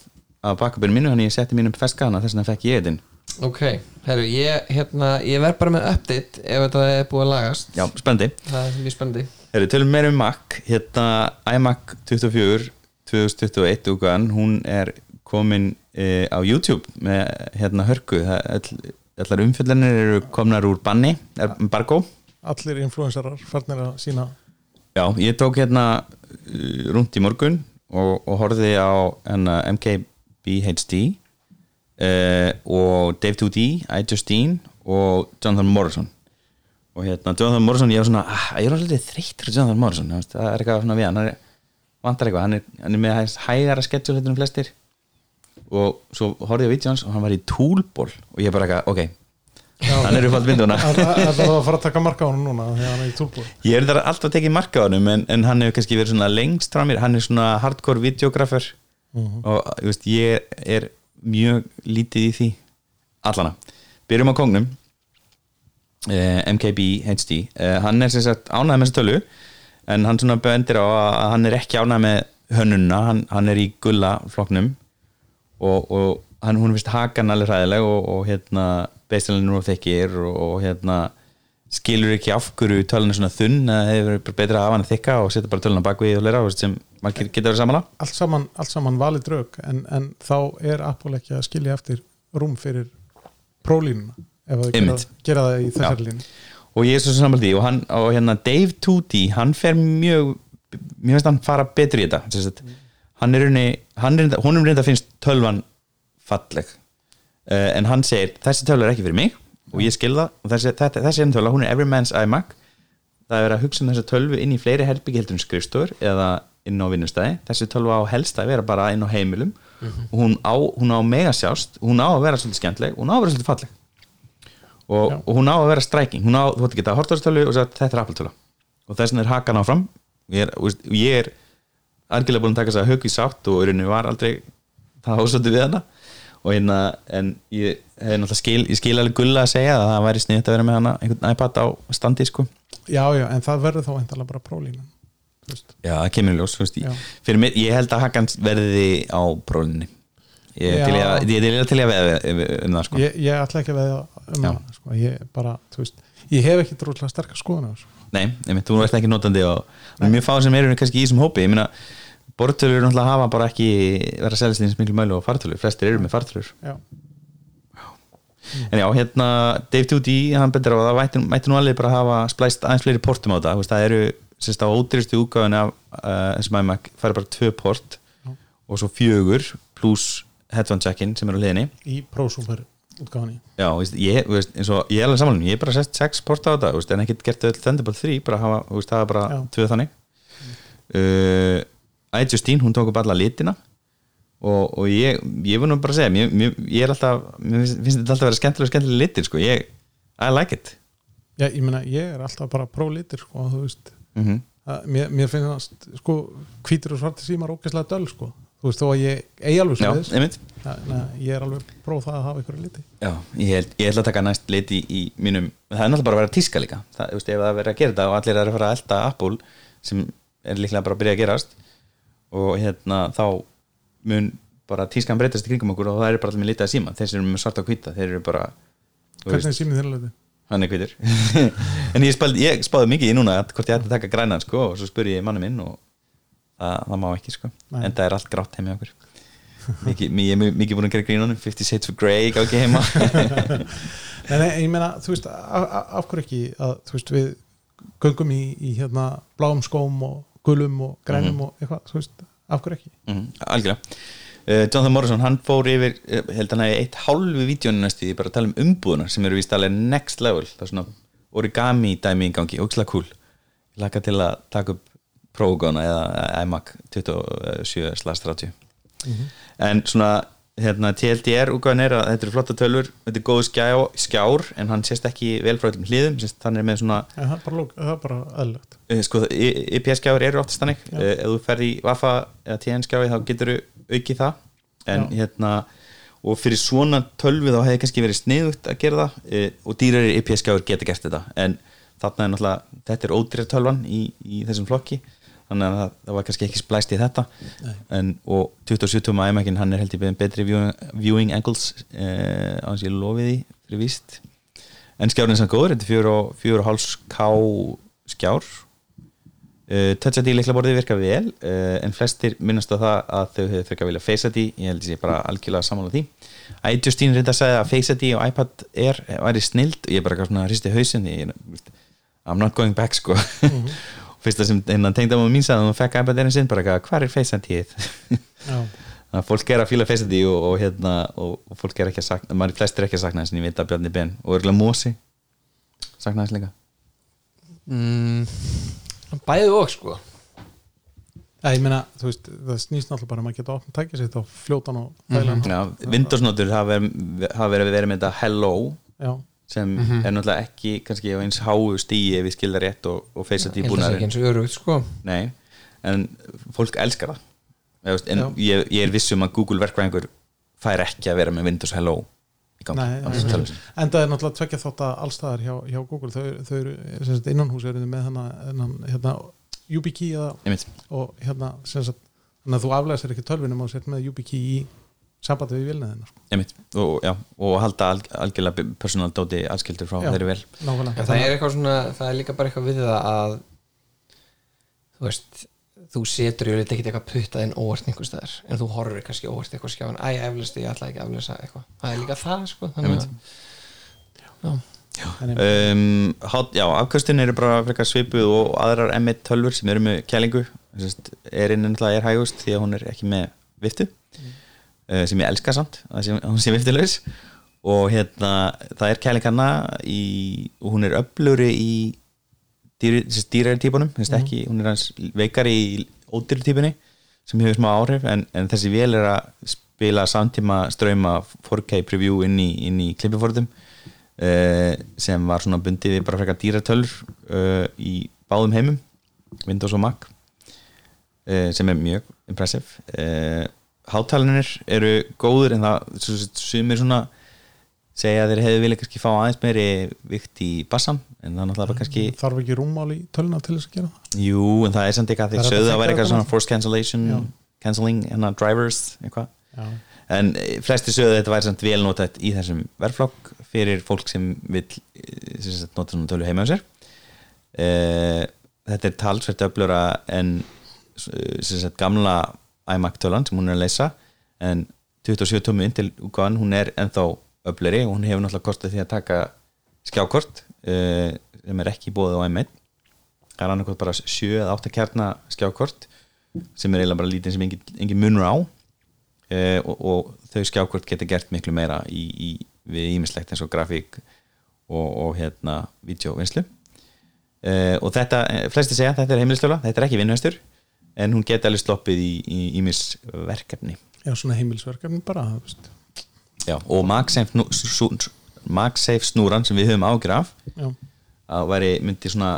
S2: Að bakkabinu mínu, þannig að ég setti mínum feskana Þess vegna fekk ég þetta inn.
S4: Ok, herru, ég, hérna, ég verð bara með update ef þetta er búið að lagast
S2: Já, spendi
S4: Það er mjög spennandi
S2: Þegar tölum meira um Mac Hérna iMac 24 2021 ugan, hún er komin e, á YouTube með hérna hörku Það- öll- allar umfjöldanir eru komnar úr banni er, bargó
S3: allir influensarar farnir að sína
S2: Já, ég tók hérna uh, rúnt í morgun og, og horfði á hérna, MKBHD uh, og Dave 2D, I Justine og Jonathan Morrison og hérna Jonathan Morrison, ég var svona ah, ég er alveg þreyttur á Jonathan Morrison þú veist, það er eitthvað svona við hann, hann er, vantar eitthvað, hann er, hann er með hæs- hægara sketsjul hérna um flestir og svo horfði ég á vídeo hans og hann var í túlból og ég bara eitthvað, ok, hann er uppátt mynduna
S3: að það var að fara að taka marka á hann núna þegar hann er í túlbúr
S2: Ég er þar alltaf tekið marka á honum en, en hann hefur kannski verið svona lengst frá mér hann er svona hardcore videografur og þú veist, ég er mjög lítið í því allana, byrjum á kongnum eh, MKB HD eh, hann er sem sagt ánægð með þessa tölu en hann svona bendir á að að hann er ekki ánægð með hönnunna, hann, hann er í gulla flokknum og, og hann, hún finnst hakan alveg hræðileg og, og hérna beisalinn og þekkir og, og hérna skilur ekki af hverju tölun er svona þunn að það hefur verið bara betra að hafa hann þykka og setja bara tölun á bakvið og lera sem margir geta verið samanlega
S3: allt saman, allt saman valið draug en, en þá er Apple ekki að skilja eftir rúm fyrir prólínuna ef það gera,
S2: Einmitt.
S3: gera það í
S2: Já.
S3: þessari línu
S2: og ég er svo samanlega því og, hann, og hérna Dave 2D hann fer mjög mér finnst hann fara betur í þetta sem sagt, hann er unni, hann reynda, Eh, honum reynda finnst tölvan falleg uh, en hann segir þessi tölva er ekki fyrir mig og ég skil það og þessi, þetta, þessi enn tölva, hún er every man's iMac það er verið að hugsa um þessa tölvu inn í fleiri herbyggjaldum skrifstöður eða inn á vinnustæði þessi tölva á helst að vera bara inn á heimilum og hún á, hún á mega sjást hún á að vera svolítið skemmtleg, hún á að vera svolítið falleg og, og hún á að vera stræking hún á, þú veit ekki þetta hortastölu og sagt, þetta er appeltölu og þess vegna er hakan áfram ég er, þú veist, ég er algjörlega búin að taka þess að högg í sátt og í rauninni var aldrei það ásöldi við hana og hérna, en ég hef náttúrulega skil, ég skil alveg gulla að segja að það væri sniðt að vera með hana einhvern iPad á standi sko
S3: já, já, en það verður þá endala bara prólínan þú veist.
S2: Já, það kemur í ljós, þú veist
S3: Já.
S2: ég, fyrir mér, ég held að hakan verði á prólinni ég er
S3: Já.
S2: til í að- ég er til í að til ég að veða um það sko
S3: ég, ég ætla ekki að veða um
S2: Já.
S3: hana sko. ég bara, þú veist, ég hef ekki drúlega sterkar sko. skoðan á þessu
S2: Nei, einmitt, þú ert ekki notandi og og mjög fáið sem eru kannski í þessum hópi ég meina, bortölur náttúrulega hafa bara ekki vera að selja sér eins miklu mælu og fartölur flestir eru með fartölur
S3: já,
S2: en já, hérna, Dave Tudy, hann bendur á að það mætti, mætti nú alveg bara að hafa splæst aðeins fleiri portum á þetta, þú veist, það eru sérst á ódýrstu útgáðinu af uh, þessum iMac, það eru bara tvö port og svo fjögur, pluss headphone check-in sem er á liðinni
S3: í prósúmer útgáðan í
S2: Já, þú veist, ég, þú veist, eins og ég er alveg samanlun ég er bara sett sex porta á þetta, þú veist, en ekkert gert öll Thunderbolt 3, bara hafa, þú veist, það er bara
S3: Já.
S2: tvöð þannig uh, Æ, Justine, hún tók upp alla litina og, og ég ég vunum bara að segja, mér, mér, ég er alltaf mér finnst, finnst þetta alltaf að vera skemmtilega skemmtilega litir, sko, ég, I like it
S3: já, ég meina, ég er alltaf bara prólítir sko, þú veist
S2: mm
S3: að, mér, mér finnst það, sko, hvítur og svartir símar ókesslega döl, sko þú veist, þó að ég eigi alveg
S2: Já,
S3: svo þess
S2: einmitt
S3: ég er alveg próf það að hafa ykkur liti
S2: Já, ég, held, ég ætla að taka næst lit í, í mínum, það er náttúrulega bara að vera tíska líka það, þú veist, ef það er verið að gera þetta og allir er að fara að elda Apple sem er líklega bara að byrja að gerast og hérna þá mun bara tískan breytast í kringum okkur og það eru bara allir með litaða síma þeir sem eru með svarta og hvíta, þeir eru bara þú
S3: hvernig
S2: veist,
S3: er símið þínlega liti?
S2: hann er hvítur en ég, spald, ég spáði mikið í núna að hvort ég ætti að taka grænan sko og svo spurði ég manni minn og það, það má ekki sko
S3: Nei.
S2: en það er allt grátt heim í okkur mikið, mikið, ég er mi- mikið búin að gera grínunum 50 Shades of Grey gangi heima
S3: Nei, nei, ég meina, þú veist, af, af- af hverju ekki að, þú veist, við göngum í, í hérna, bláum skóm og gulum og grænum
S2: Mhm.
S3: og eitthvað, þú veist, af hverju ekki?
S2: mm, algjörlega uh, Jonathan Morrison, hann fór yfir uh, held hann að eitt hálfu vídjónu næstu því bara að tala um umbúðuna sem eru víst alveg next level það er svona origami dæmi í gangi, ógislega cool ég laka til að taka upp prófugóna eða iMac 27-30 en svona hérna, TLDR úrgæðan er að þetta eru flotta tölur þetta er góð skjá, skjár en hann sést ekki vel frá öllum hliðum sést, hann er með svona
S3: En það er bara, lók- það er bara eðlögt.
S2: Eh, sko, IPS-skjáður eru oftast þannig Eh, ef þú ferð í Wafa eða TN-skjáði þá getur þú aukið það en hérna, og fyrir svona tölvi þá hefði kannski verið sniðugt að gera það eh, og dýrari IPS-skjáður geta gert þetta en þarna er náttúrulega þetta er ódýrar tölvan í, í þessum flokki þannig að það, það var kannski ekki splæst í þetta en, og 27 IMAC-in hann er held ég beðin betri viewing, viewing angles eh, á hans ég lofið því fyrir víst en skjárinn er samt góður, þetta er 4,5K skjár uh, Touch ID leiklaborðið virka vel uh, en flestir minnast á það að þau hefur frekar vilja Face ID, ég held að ég bara algjörlega sammála því Æ, Justine reynda að segja að Face ID og iPad Air væri snild og ég bara gaf svona hristi hausin ég, ég, I'm not going back sko fyrsta sem innan tengda maður mín sagði að hún fekk iPad Air sinn bara hvað er Face ID
S3: Já,
S2: Þannig að fólk er að fíla feysandi og, og, hérna, og, og fólk er ekki að sakna maður flest er ekki að sakna þess en ég veit að Bjarni Ben og örgulega Mósi sakna þess líka
S4: mm, Bæði og sko
S3: Eða, ég meina, þú veist, það snýst náttúrulega bara um að geta opnum tækja sitt á fljótan og þægilegan
S2: Mhm.
S3: hátt.
S2: Já, Windows-notur hafa verið hafa verið að vera með þetta Hello
S3: Já,
S2: sem
S4: Mhm.
S2: er náttúrulega ekki kannski á eins háu stíi ef við skilja rétt og, og feysandi
S4: Ég held að það sé ekki
S2: búinarinn
S4: eins og örugt sko
S2: Nei, en fólk elskar það Eða, þú veist, en
S3: Já.
S2: ég, ég er vissum að Google verkvæðingur fær ekki að vera með Windows Hello í gangi á
S3: Nei, nei,
S2: þessum
S3: nei.
S2: tölvum.
S3: en það er náttúrulega tvekja þátt að allstaðar hjá, hjá Google, þau, þau eru, sem sagt, innanhús eru með hana, hennan, hérna, YubiKey eða,
S2: Einmitt.
S3: og hérna, sem sagt, þannig að þú aflæsir ekki tölvinum og sért með YubiKey í sambandi við vilnaðina, sko.
S2: Einmitt. Og, já, og halda alg, algjörlega personal dóti allskildur frá
S3: Já.
S2: þeirri vel
S3: Nákvæmlega
S4: En það er eitthvað svona, það er líka bara eitthvað við það að þú veist þú setur í lítið ekkert eitthvað puttað inn óvart einhvers staðar, en þú horfir kannski óvart eitthvað skjáin, æ, eflust, ég ætla ekki að eflusa eitthvað það er líka það, sko þannig að, já,
S3: Þannig-
S2: um, hát, Já, afkastin eru bara frekar svipuð og aðrar M1 tölvur sem eru með kælingu erinn náttúrulega er hægust eh, því að hún er ekki með viftu mm. sem ég elska samt að sé- að hún sé viftilegs og hérna, það er kælinganna í, og hún er öfluri í dýri- þessi dýrari típunum mm. ekki, hún er hans veikari í ódýri típunni sem hefur smá áhrif en, en þessi vél er að spila samtíma ströma 4K preview inn í, inn í klippifórtum uh, sem var svona bundið við bara frekar dýratölur uh, í báðum heimum Windows og Mac uh, sem er mjög impressive uh, hátalinir eru góður en það svo- svo- sumir svona segja að þeir hefðu vilja kannski fá aðeins meiri vikt í bassan en það er náttúrulega bara kannski
S3: þarf ekki rúmmál í töluna til þess að gera það
S2: jú en það er samt eitthvað
S3: Það
S2: þeir
S3: er
S2: sögðu
S3: hægt að
S2: að vera
S3: fækka
S2: eitthvað svona
S3: þarna.
S2: force cancellation
S3: Já.
S2: cancelling, hérna drivers eitthvað
S3: já,
S2: en eh, flesti sögðu að þetta væri samt vel notað í þessum verðflokk fyrir fólk sem vil eh, sem sagt, nota svona tölu heima á sér uh, þetta er talsvert öflura en eh, sem sagt, gamla iMac tölan sem hún er að leysa en 27 tómi inntil útgáðan hún er ennþá öfluri og hún hefur náttúrulega kostið því að taka skjákort uh, sem er ekki búið á M1 það er annarkot bara 7 eða 8 kjarna skjákort sem er eiginlega bara lítið sem engin, engin munur á eh, og, og þau skjákort geta gert miklu meira í, í, við ímislegt eins og grafík og, og hérna videóvinnslu eh, og þetta, eh, flesti segja þetta er heimilistöla, þetta er ekki vinnhestur en hún geta alveg sloppið í, í ímis verkefni
S3: já svona heimilsverkefni bara þú veist.
S2: Já, og MagSafe, snú, sú, MagSafe snúran sem við höfum ágjur af
S3: já,
S2: að væri myndi svona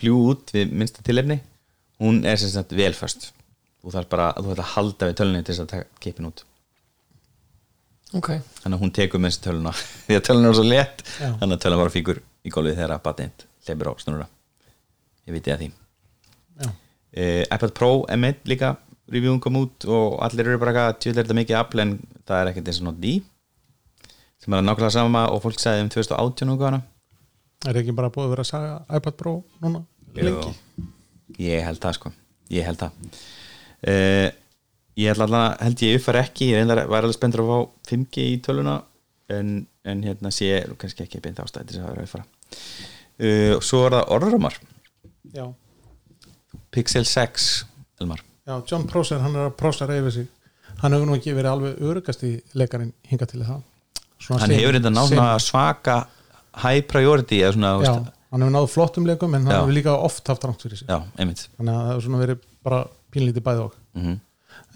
S2: fljú út við minnsta tilefni hún er sem sagt velföst þú þarf bara, þú ætla að halda við tölunni til þess að taka kipin út
S4: ok,
S2: þannig að hún tekur með þessi töluna því að töluna var svo lett
S3: Já.
S2: þannig að töluna var fíkur í gólfið þegar að batint hleypir á snurra ég veit ég að því
S3: já,
S2: uh, iPad Pro M1 líka reviewum kom út og allir eru bara eitthvað tjóðlega er þetta mikið afl en það er ekkert eins og nótt í sem er nákvæmlega sama og fólk sagði um 2018 og hana
S3: er ekki bara búið að vera að saga iPad Pro núna lengi
S2: ég held það sko ég held það uh, ég held allan held ég uppfæra ekki ég reyndar var alveg spenntur að fá 5G í töluna en, en hérna sé kannski ekki beint ástæði til þess að vera að uppfæra uh, og svo er það orðrumar
S3: já,
S2: Pixel 6 Elmar
S3: já, John Prosser, hann er að Prosser yfir sig hann hefur nú ekki verið alveg örugast í leikarinn hinga til það svona
S2: hann
S3: sem-
S2: hefur þetta
S3: sem-
S2: náttúrulega svaka high priority eða svona, þú
S3: já,
S2: veist,
S3: hann hefur náðu flottum leikum en hann
S2: Já.
S3: hefur líka oft haft rangt fyrir sig
S2: já, einmitt
S3: þannig að það hefur svona verið bara pínlítið bæði og
S2: mm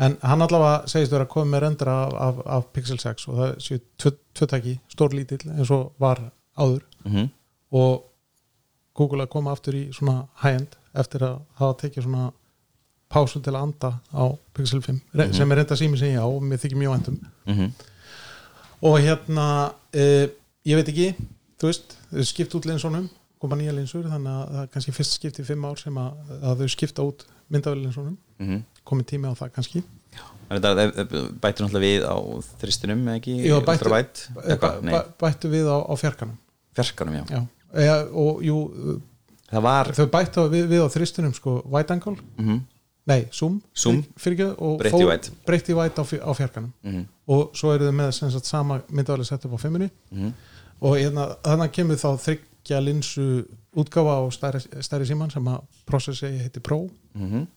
S3: en hann allavega segist vera að koma með rendera af, af, af Pixel 6 og það séu tvö- tvö tæki, stór lítill eins og var áður
S2: -hmm.
S3: og Google að koma aftur í svona high-end eftir að hafa tekið svona pásu til að anda á Pixel 5 mm sem er reynda sími sem ég á og mér þykir mjög endum
S2: Mm
S3: og hérna e, ég veit ekki, þú veist þau skipt út linsunum, koma nýja linsur þannig að það er kannski fyrst skipt í 5 ár sem að, að þau skipta út myndavélinsunum
S2: Mhm.
S3: komið tími á það kannski
S2: Þetta eh, bætir náttúrulega við á þristinum eða ekki,
S3: Jú, bættu- eh,
S2: ultravite, eitthvað, nei,
S3: bæ, bættu við á, á fjarkanum
S2: fjarkanum já.
S3: já. Eða, og jú,
S2: það var
S3: þau bættu við, við á þristunum sko, wide angle,
S2: mm -hmm.
S3: nei, zoom,
S2: Zoom.
S3: fyrir, fyrir, og
S2: Breytti
S3: fór-
S2: wide.
S3: breytti wide á, fj- á fjarkanum og svo eru þau með sem sagt, sama myndavæli sett upp á fimmunni
S2: Mhm.
S3: og hérna, þannig kemur þá þryggja linsu útgáfa á stærri, stærri síman sem að prosessi heiti Pro Mhm.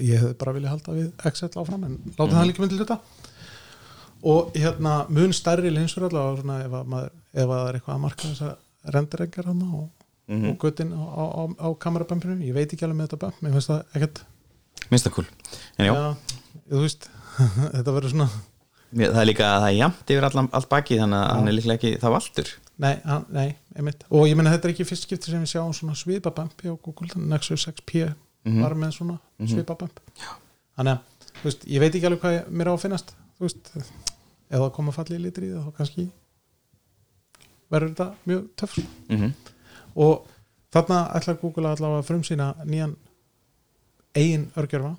S3: ég hefði bara vilja halda við Excel áfram en láta það líka myndi luta og hérna mun stærri linsur allavega svona ef, að maður, ef að það er eitthvað að marka þessar renderengar hann og, mm og guttin á, á, á, á kamerabömpinu ég veit ekki alveg með þetta bömp, mér finnst það ekkert
S2: minnst það kúl en já,
S3: þú veist, þetta verður svona
S2: mér- það er líka að það er jamt yfir allan, allt baki þannig að hann er líklega ekki það valdur
S3: nei, hann, nei, einmitt og ég meina þetta er ekki fyrst skipti sem við sjáum svona svipabömpi á Google, þannig Nexus 6P var með svona mm -hmm. svipabömp þannig að, þú veist, ég veit ekki alveg hvað ég, mér á að finnast, þú veist ef það koma fallið litri í það, þá kannski verður þetta mjög töff
S2: mm -hmm.
S3: og þarna ætlar Google að allavega að frumsýna nýjan eigin örgjörfa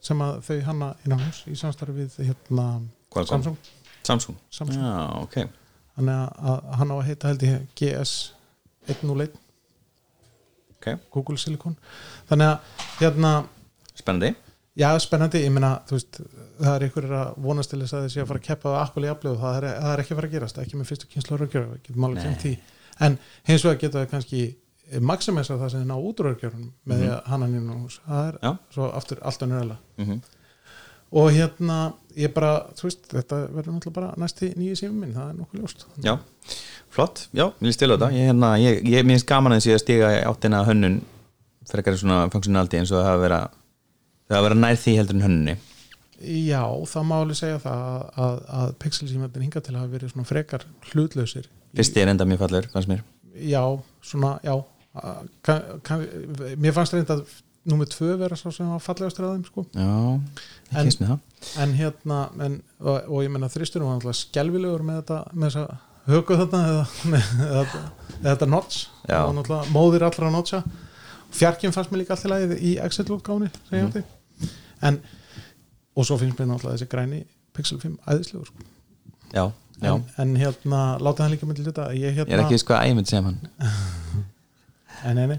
S3: sem að þau hanna innan hús í samstarfi við hérna
S2: Qualcomm.
S3: Samsung,
S2: Samsung,
S3: Samsung.
S2: Já, ok.
S3: þannig að- að hann á að heita held ég GS 101
S2: ok,
S3: Google Silicon þannig að hérna,
S2: spennandi
S3: já spennandi ég meina, þú veist, það er ykkur að vonast til þess að þessi að fara að keppa við Apple í Apple og það er, það er ekki að fara að gerast, ekki með fyrstu kynslu rörgjöru, getum alveg kemd því en hins vegar geta það kannski maximessa það sem þið ná út rörgjörunum með því að hanna nýjum hús, það er
S2: Já.
S3: svo aftur allt önnurlega
S2: mm -hmm.
S3: og hérna ég bara, þú veist, þetta verður náttúrulega bara næsti nýju sími minn, það er nokkuð ljóst
S2: Já, flott, já, mér líst til á
S3: Mhm.
S2: þetta ég, hérna, ég, ég mér finnst gaman að þessi að stiga í áttina að hönnun frekar en svona funksionaldi eins og það hafa vera það hafa vera nær því heldur en hönnunni
S3: Já, það má alveg segja það að, að, að pixelsímendin hinga til að hafa verið svona frekar hlutlausir
S2: fyrst er enda mjög fallur, fannst mér
S3: Já, svona, já að- kann, kann, mér fannst reynda að númer tvö vera sá sem var fallegastur að þeim sko.
S2: Já,
S3: En-
S2: ekki eins með það
S3: en hérna en, og, og ég menna þristurinn var náttúrulega skelvilegur með þetta, með þess að höku þarna eða, með, eða, eða þetta notch
S2: Já.
S3: það var náttúrulega móðir allra notcha fjarkinn fannst mér líka allt í lagi í Excel útgáni, segja mm. en, og svo finnst mér náttúrulega þessi græni Pixel 5 æðislegur sko.
S2: Já, já,
S3: en, en hérna, láta það líka myndi hluta ég,
S2: ég er
S3: hérna,
S2: ekki viss hvað æmið sem hann
S3: en, en,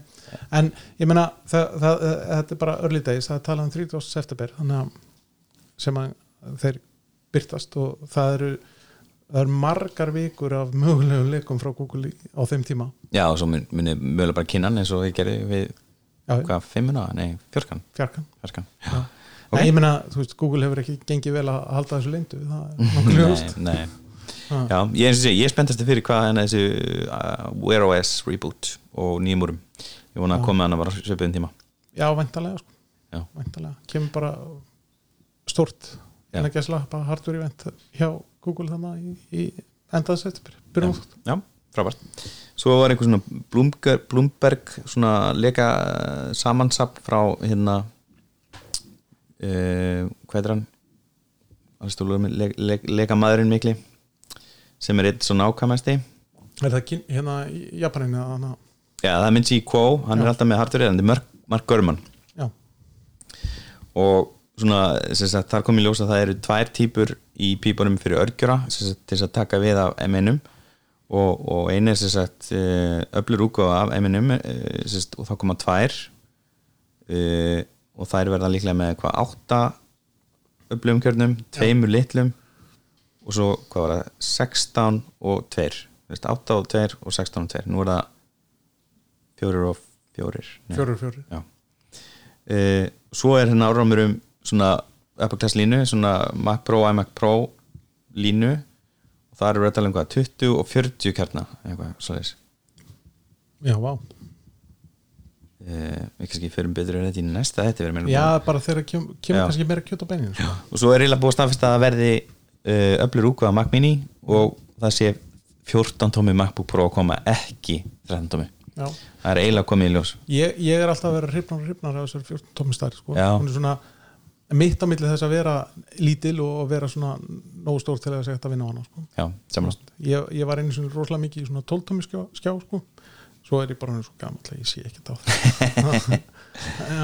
S3: en ég menna það, það, eh, þetta er bara early days, það er talað um 30. september þannig að sem að þeir byrtast og það eru það eru margar vikur af mögulegum leikum frá Google í- á þeim tíma
S2: Já, og svo mun- muni mögulega bara kynna hann eins og ég gerði við
S3: já,
S2: hvað, fimmuna? Nei, fjörkan,
S3: fjarkan
S2: fjörkan.
S3: já.
S2: Ok.
S3: en ég menna, þú veist, Google hefur ekki gengið vel að halda þessu leyndu það er nokkuð
S2: Nei,
S3: ljóst
S2: nei
S3: Ah.
S2: Já, ég, eins og sé, ég er spenntast fyrir hvað henni þessi uh, Wear OS reboot og nýjum úrum ég vona að koma hann að bara svipuðum tíma
S3: já, væntalega, sko.
S2: Já.
S3: væntalega kemur bara stort
S2: Já.
S3: en ekki að slappa hardware event hjá Google þannig í, í endaðs eftir byrjum átt
S2: Já, frábært Svo var einhver svona Bloomberg, Bloomberg svona leka uh, samansapn frá hérna uh, hvað er hann? Alstúlur, le, le, leka maðurinn mikli sem er eitt svona ákvæmasti
S3: Er það kyn, hérna í Japanin eða hana?
S2: Já, það er myndi í Quo, hann er alltaf með hardverið en þetta er Mark, Mark Görman
S3: Já,
S2: og svona, sem sagt, þar kom ég ljós að það eru tvær típur í pípunum fyrir örgjura sem sagt, til þess að taka við af M1-um og, og einu er sem sagt eh, öflur útgáfa af M1-um eh, sem sagt, og þá koma tvær eh, og þær verða líklega með hvað átta öflum kjörnum, tveimur litlum og svo hvað var það 16 og 2 Þú veist, 8 og 2 og 16 og 2 nú er það 4 og 4
S3: fjórir, fjórir.
S2: Já. Uh, svo er hérna áramur um svona Apple Class línu, svona Mac Pro, iMac Pro línu og það eru að tala um hvað, 20 og 40 kjarna eitthvað, svoleiðis
S3: Já, vá.
S2: uh, við kannski fyrir betur en þetta í næsta þetta verið meira
S3: Já, bara þegar kem, kemur
S2: Já.
S3: kannski meira kjöt á beinin. sko.
S2: og svo er eiginlega búið að staðfesta að verði uh, öflur úkvaða Mac Mini og það sé 14 tómi MacBook Pro að koma ekki 13 tómi,
S3: Já.
S2: það er eiginlega komið í ljós
S3: Ég, ég er alltaf að vera hrifnar og hrifnar af þessar 14 tómistær, sko.
S2: Já.
S3: Hún er svona mitt á milli þess að vera lítil og að vera svona nógu stór til að segja þetta að vinna á hana, sko.
S2: já, samanlast
S3: Ég, ég var einu sinni rosalega mikið í svona 12 tómiskjá, skjá, sko. Svo er ég bara hann svo gamall að ég sé ekki á það.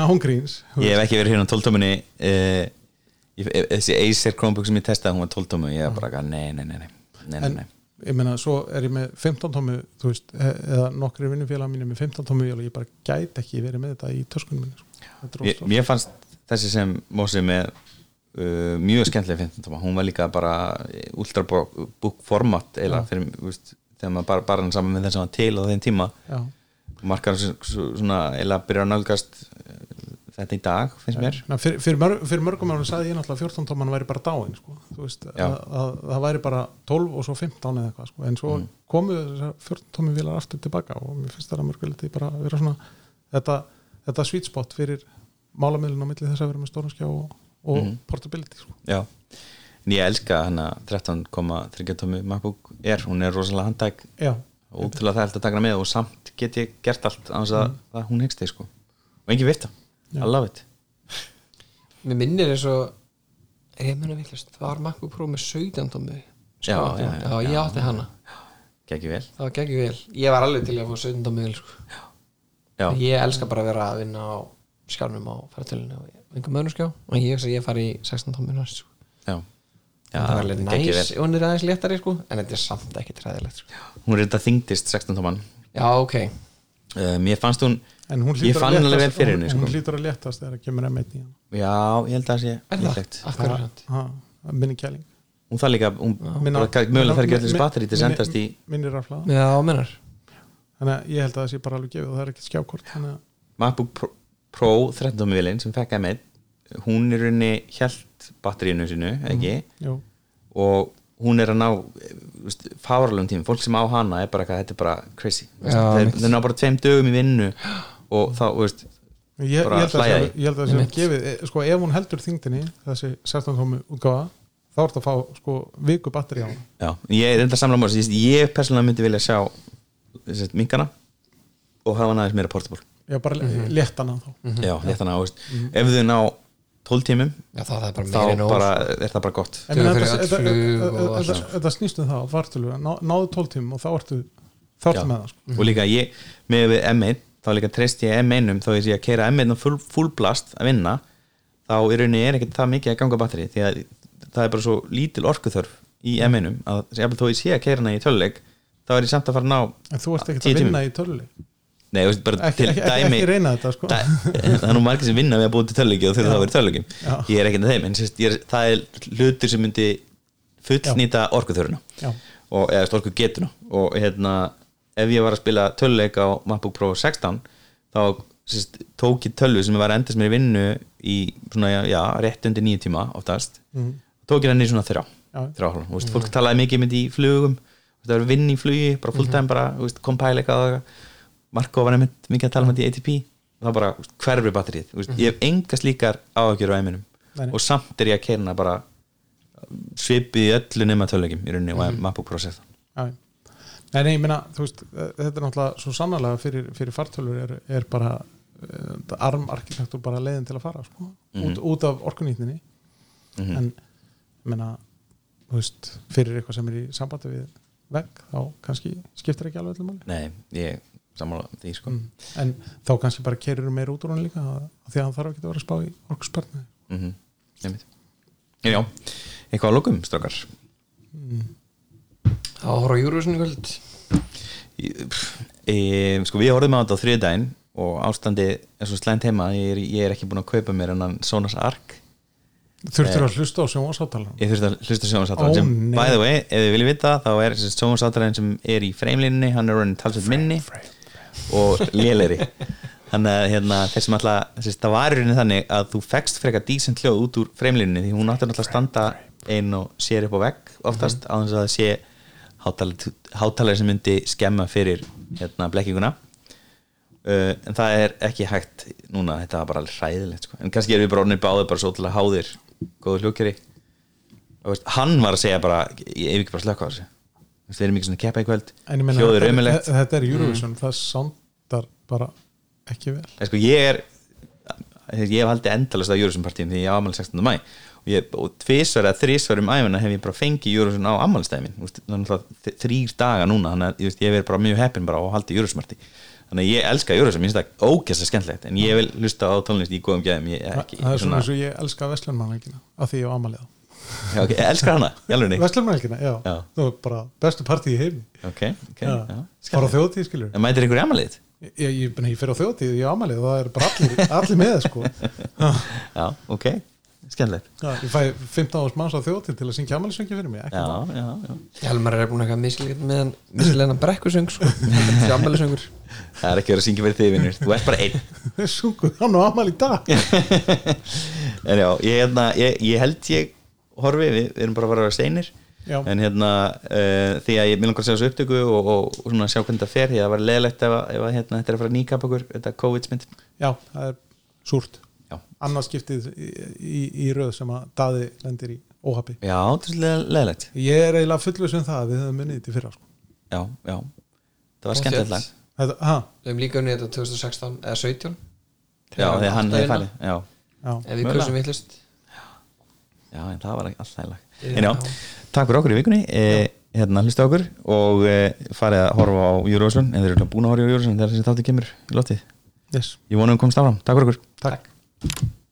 S3: Hún gríns.
S2: Ég hef ekki verið hérna á 12 tómunni uh, eh, þessi Acer Chromebook sem ég testaði hún var 12 tómu, ég hef bara gaf nei, nei, nei, nei, nei, nei,
S3: en
S2: nei.
S3: ég meina, svo er ég með 15 tómu, þú veist, e- eða nokkri vinnufélag mínir með 15 tómu vél og ég bara gæti ekki verið með þetta í töskunum minni sko. Þetta er
S2: Ég,
S3: óstórt.
S2: Mér fannst þessi sem Mósi með uh, mjög skemmtileg 15 tóma, hún var líka bara eh, ultrabook format eila, fyrir, þú veist, þegar maður bara bara hann saman með þess að hann til á þeim tíma
S3: Já,
S2: markar svo- svo- svona eila byrja að nálgast eh, þetta í dag, finnst mér
S3: Na, fyrir, fyrir, mörg, fyrir mörgum árum sagði ég náttúrulega 14 tóman væri bara dáin sko. þú veist, að,
S2: Já.
S3: að, það væri bara 12 og svo 15 eða eitthvað, sko. en svo
S2: Mm.
S3: komu þessar 14 tómi vélar aftur tilbaka og mér finnst þetta mörgu liti bara að vera svona þetta, þetta sweet spot fyrir málamiðlun á milli þess að vera með stóranskjá og, og
S2: Mhm.
S3: portability sko.
S2: Já, en ég elska hana 13,3 tómu MacBook Air, hún er rosalega handtæk
S3: Já,
S2: og til að það er hægt að taka hana með og samt get ég gert allt annars að,
S3: Mm.
S2: að hún hegst þig sko og engin virta, I love it
S4: Mér minnir eins og er ég munið villast, það var MacBook Pro með 17 tómi
S2: Já, já, já,
S4: já, ég átti hana
S2: gekk vel
S4: það var geggjum vel, ég var alveg til í að fá 17 tómi vel, sko.
S2: já,
S4: ég elska bara að vera að vinna á skjárnum á færtölinu og einhver mönnum skjá og ég hugsa að ég fari í 16 tómi næst sko.
S2: já, já
S4: það var alveg
S2: gekk
S4: næs,
S2: vel.
S4: hún er aðeins léttari sko. en þetta er samt ekki træðilegt sko.
S2: hún er þetta þyngdist 16 tóman
S4: já, ok,
S2: um, ég fannst hún,
S3: En hún
S2: ég
S3: hlýtur
S2: fann
S3: að
S2: hann alveg vel
S3: léttast-
S2: fyrir henni
S3: hún,
S2: sko.
S3: hún hlýtur að léttast þegar það kemur M1 í hann
S2: já, ég held að það sé
S4: er það,
S2: líklegt.
S4: af hverju er þetta
S3: ha, minni kæling
S2: hún þarf líka, hún
S3: Minna-
S2: bara kann- mögulega þarf ekki allir þessi
S3: minna-
S2: batteri til að
S3: minni-
S2: sendast í
S3: minni raflaða
S4: já, mennar
S3: þannig að ég held að það sé bara alveg gefið og það er ekkert skjákort þannig að
S2: MacBook Pro- Pro 13 vilin sem fekk M1 hún er raunni hjælt tengt batteríinu sinu, ekki
S3: Jú.
S2: og hún er að ná fáralum tíma, fólk sem á hana er bara eitthvað, þetta er bara crazy þú veist,
S4: Já,
S2: þeir,
S4: mitt.
S2: þeir ná bara tveim dögum í vinnu og þá, þú veist
S3: Ég, ég
S2: Bara
S3: held að
S2: hlæja
S3: það sé-
S2: því.
S3: ég held að það sé
S4: Einmitt.
S3: gefið eh, sko ef hún heldur þingdinni þessi 16 tómi útgáfa þá ertu að fá sko viku batteri á hún
S2: já, ég er enda samla mörg, ég persónulega myndi vilja sjá þessi, minkana og hafa hana aðeins meira portable
S3: já bara mm
S4: Mhm.
S3: -hmm. létt hana þá
S2: já, þetta ná, þú veist, ef þau ná 12 tímum,
S4: Já, það er
S2: þá
S4: bara Mhm. meiri nóg
S2: bara er það bara gott
S3: En ég meina,
S4: Dugar fyrir
S3: þetta-
S4: öll
S3: þetta-
S4: flug og
S3: þetta-
S4: allt. sko.
S3: þetta- þetta snýst um það vartölu, ná, náðu 12 tímum og þá ertu þá
S2: Já.
S3: ertu með það sko.
S2: og líka ég, með við M1 þá líka treyst ég M1-um þá er ég að keira M1 á full, full blast að vinna þá í rauninni er ekkert það mikið að ganga batteri því að það er bara svo lítil orkuþörf í M1-um að jafnvel þó ég sé að keira hana í töluleik þá er ég samt að fara að ná
S3: en þú ert ekkert
S2: Tíu
S3: að
S2: tímum.
S3: vinna í töluleik
S2: nei, þú veist, bara
S3: ekki,
S2: til
S3: ekki, ekki,
S2: dæmi
S3: ekki reyna þetta sko.
S2: Dæ, það er nú margir sem vinna við að búið til töluleiki og þurfa þá að vera í töluleikim
S3: Já.
S2: ég er ekkert að þeim, en sérst, ég er, það er hlutur sem myndi fullnýta orkuþörfuna
S3: Já.
S2: og eða storku getuna og hérna ef ég var að spila töluleik á MacBook Pro 16 þá sérst, tók ég tölvu sem ég var að endast mér í vinnu í svona, já, já rétt undir nýju tíma oftast, tók ég henni í svona þrjá
S3: Mhm. Já. Mhm.
S2: þrjá hálfum, þú veist, fólk talaði mikið mynd í flugum, þú veist, það var vinn í flugi bara fulltime,
S3: Mhm.
S2: mm -hmm. bara, þú veist, compile eitthvað og eitthvað. Marko var nefnt mikið að tala um þetta í ATP og það bara þú veist, hverfi batterið þú veist, ég hef enga slíkar áhugjur á eiminum
S3: Mhm. Nei, nei.
S2: og samt er ég að keirna bara svipið í öllu nema töluleikim í rauninni
S3: Mhm.
S2: og MacBook Pro 16
S3: Já. Nei, nei, ég meina, þú veist, eh, þetta er náttúrulega svo sannarlega fyrir, fyrir fartölur er, er bara uh, armarkitektur bara leiðin til að fara sko, út, út af orkunýtninni en, ég meina þú veist, fyrir eitthvað sem er í sambandi við vegg, þá kannski skiptir ekki alveg allir máli
S2: Nei, ég sammála því sko mm.
S3: en þá kannski bara kerir meir út úr hann líka af því að hann þarf ekki að vera að spá í orkuspartni
S2: Mm En já, eitthvað að lokum, strókar
S4: Þá horfa júruvísinu kvöld
S2: Ég- pff, e, Sko, við horfum á þetta á þriðdæn og ástandi er svo slæmt heima ég er, ég er ekki búin að kaupa mér hennan Sonos Arc
S3: þurftur að hlusta á sjónvarsáttalann
S2: ég þurfti að hlusta
S3: Ó,
S2: sjónvarsáttarann sem,
S3: nei.
S2: by the way, ef þið viljið vita þá er sjónvarsáttarann sem er í freimlinni hann er orðin talsveit minni og léleri þannig að hérna, þessum alltaf, þess, það var í rauninni þannig að þú fekst frekar dísent hljóð út úr freimlinni því hún átti náttúrulega að standa ein og sér upp á vegg oftast
S3: Mhm.
S2: á þess að það sé hátalari- hátalari sem myndi skemma fyrir hérna, blekkinguna uh, en það er ekki hægt núna, þetta var bara alveg hræðilegt sko. en kannski erum við bara orðinir báðir bara svo til að háðir góðu hljókjari og veist, hann var að segja bara ég hef ekki bara slökka á þessu Þú veist, við erum ekki svona að keppa í kvöld
S3: en ég meina,
S2: hljóður
S3: þetta,
S2: ömulegt
S3: er- þetta er Eurovision, það sándar bara ekki vel
S2: Nei, sko, ég er ég hef haldið endalast á Júruvísum partíum því ég á ammæli 16. mæ og, ég- og tvisvar eða þrisvar um æfina hef ég bara fengið Júruvísum á ammælistæmin þrýr daga núna þannig að ég, veist, ég hef verið bara mjög heppin bara á að haldi Júruvísum partí þannig að ég elska Júruvísum, ég finnst það ógæsta skemmtlegt en ég vil hlusta á tónlist í góðum gæðum ég, er ekki,
S3: það er
S2: svona,
S3: svona eins og ég elska Vestlunmannhelgina af því ég á amaliða
S2: já, okay, ég elskar hana, í alveg
S3: Vestlunmannhelgina, já,
S2: Já.
S3: þú er bara bestu partí í heimi
S2: ok, ok, já,
S3: Já. bara á
S2: skemmtilegt.
S3: þjóðtíð skilur
S2: en mætir ykkur í ammælið
S3: ég, ég, ég, ég fyrir á þjóðtíð, ég á amalið það er bara allir, allir með sko Já.
S2: já, ok, skemmtilegt
S3: Já, ég fæ 15 árs manns á þjóðtíð til að syngja amalisöngi fyrir mig, ekki
S2: já, já, já
S4: Helmar er búin að eitthvað mislíka með hann misleina brekkusöng sko Sjámælisöngur
S2: það er ekki verið að syngja fyrir þig vinnur, þú ert bara einn
S3: Þeir sungu hann á amal í dag
S2: en já, ég, hérna, ég, ég held ég horfi, við, við erum bara að vera steinir
S3: Já.
S2: en hérna uh, því að ég vil langar að sjá þessu upptöku og, og, og svona sjá hvernig það fer, því að það var leðilegt ef, að- ef að, hérna, þetta er að fara að nýkap okkur, þetta COVID-smynd
S3: Já, það er súrt
S2: Já.
S3: Annars skiptið í, í, í röð sem að daði lendir í óhafi
S2: já, þetta er leð- leðilegt
S3: Ég er eiginlega fullvis um það að við höfum munnið þetta í fyrra sko.
S2: já, já, það var skemmtilegt lag
S3: Þetta, ha,
S4: Við hefum líka unnið þetta 2016 eða 17
S2: já, því að hann hefði farið já,
S3: já,
S4: Ef við
S2: Mögulega.
S4: kursum vittlust
S2: já, en það var alltaf lag
S4: Já.
S2: en já, takk fyrir okkur í vikunni e, hérna hlusta okkur og e, farið að horfa á Júruvísson en þeir eru búin að horfa á Júruvísson þegar þessi þáttu kemur í lotið
S3: yes,
S2: ég vonum komst áfram, takk fyrir okkur
S3: takk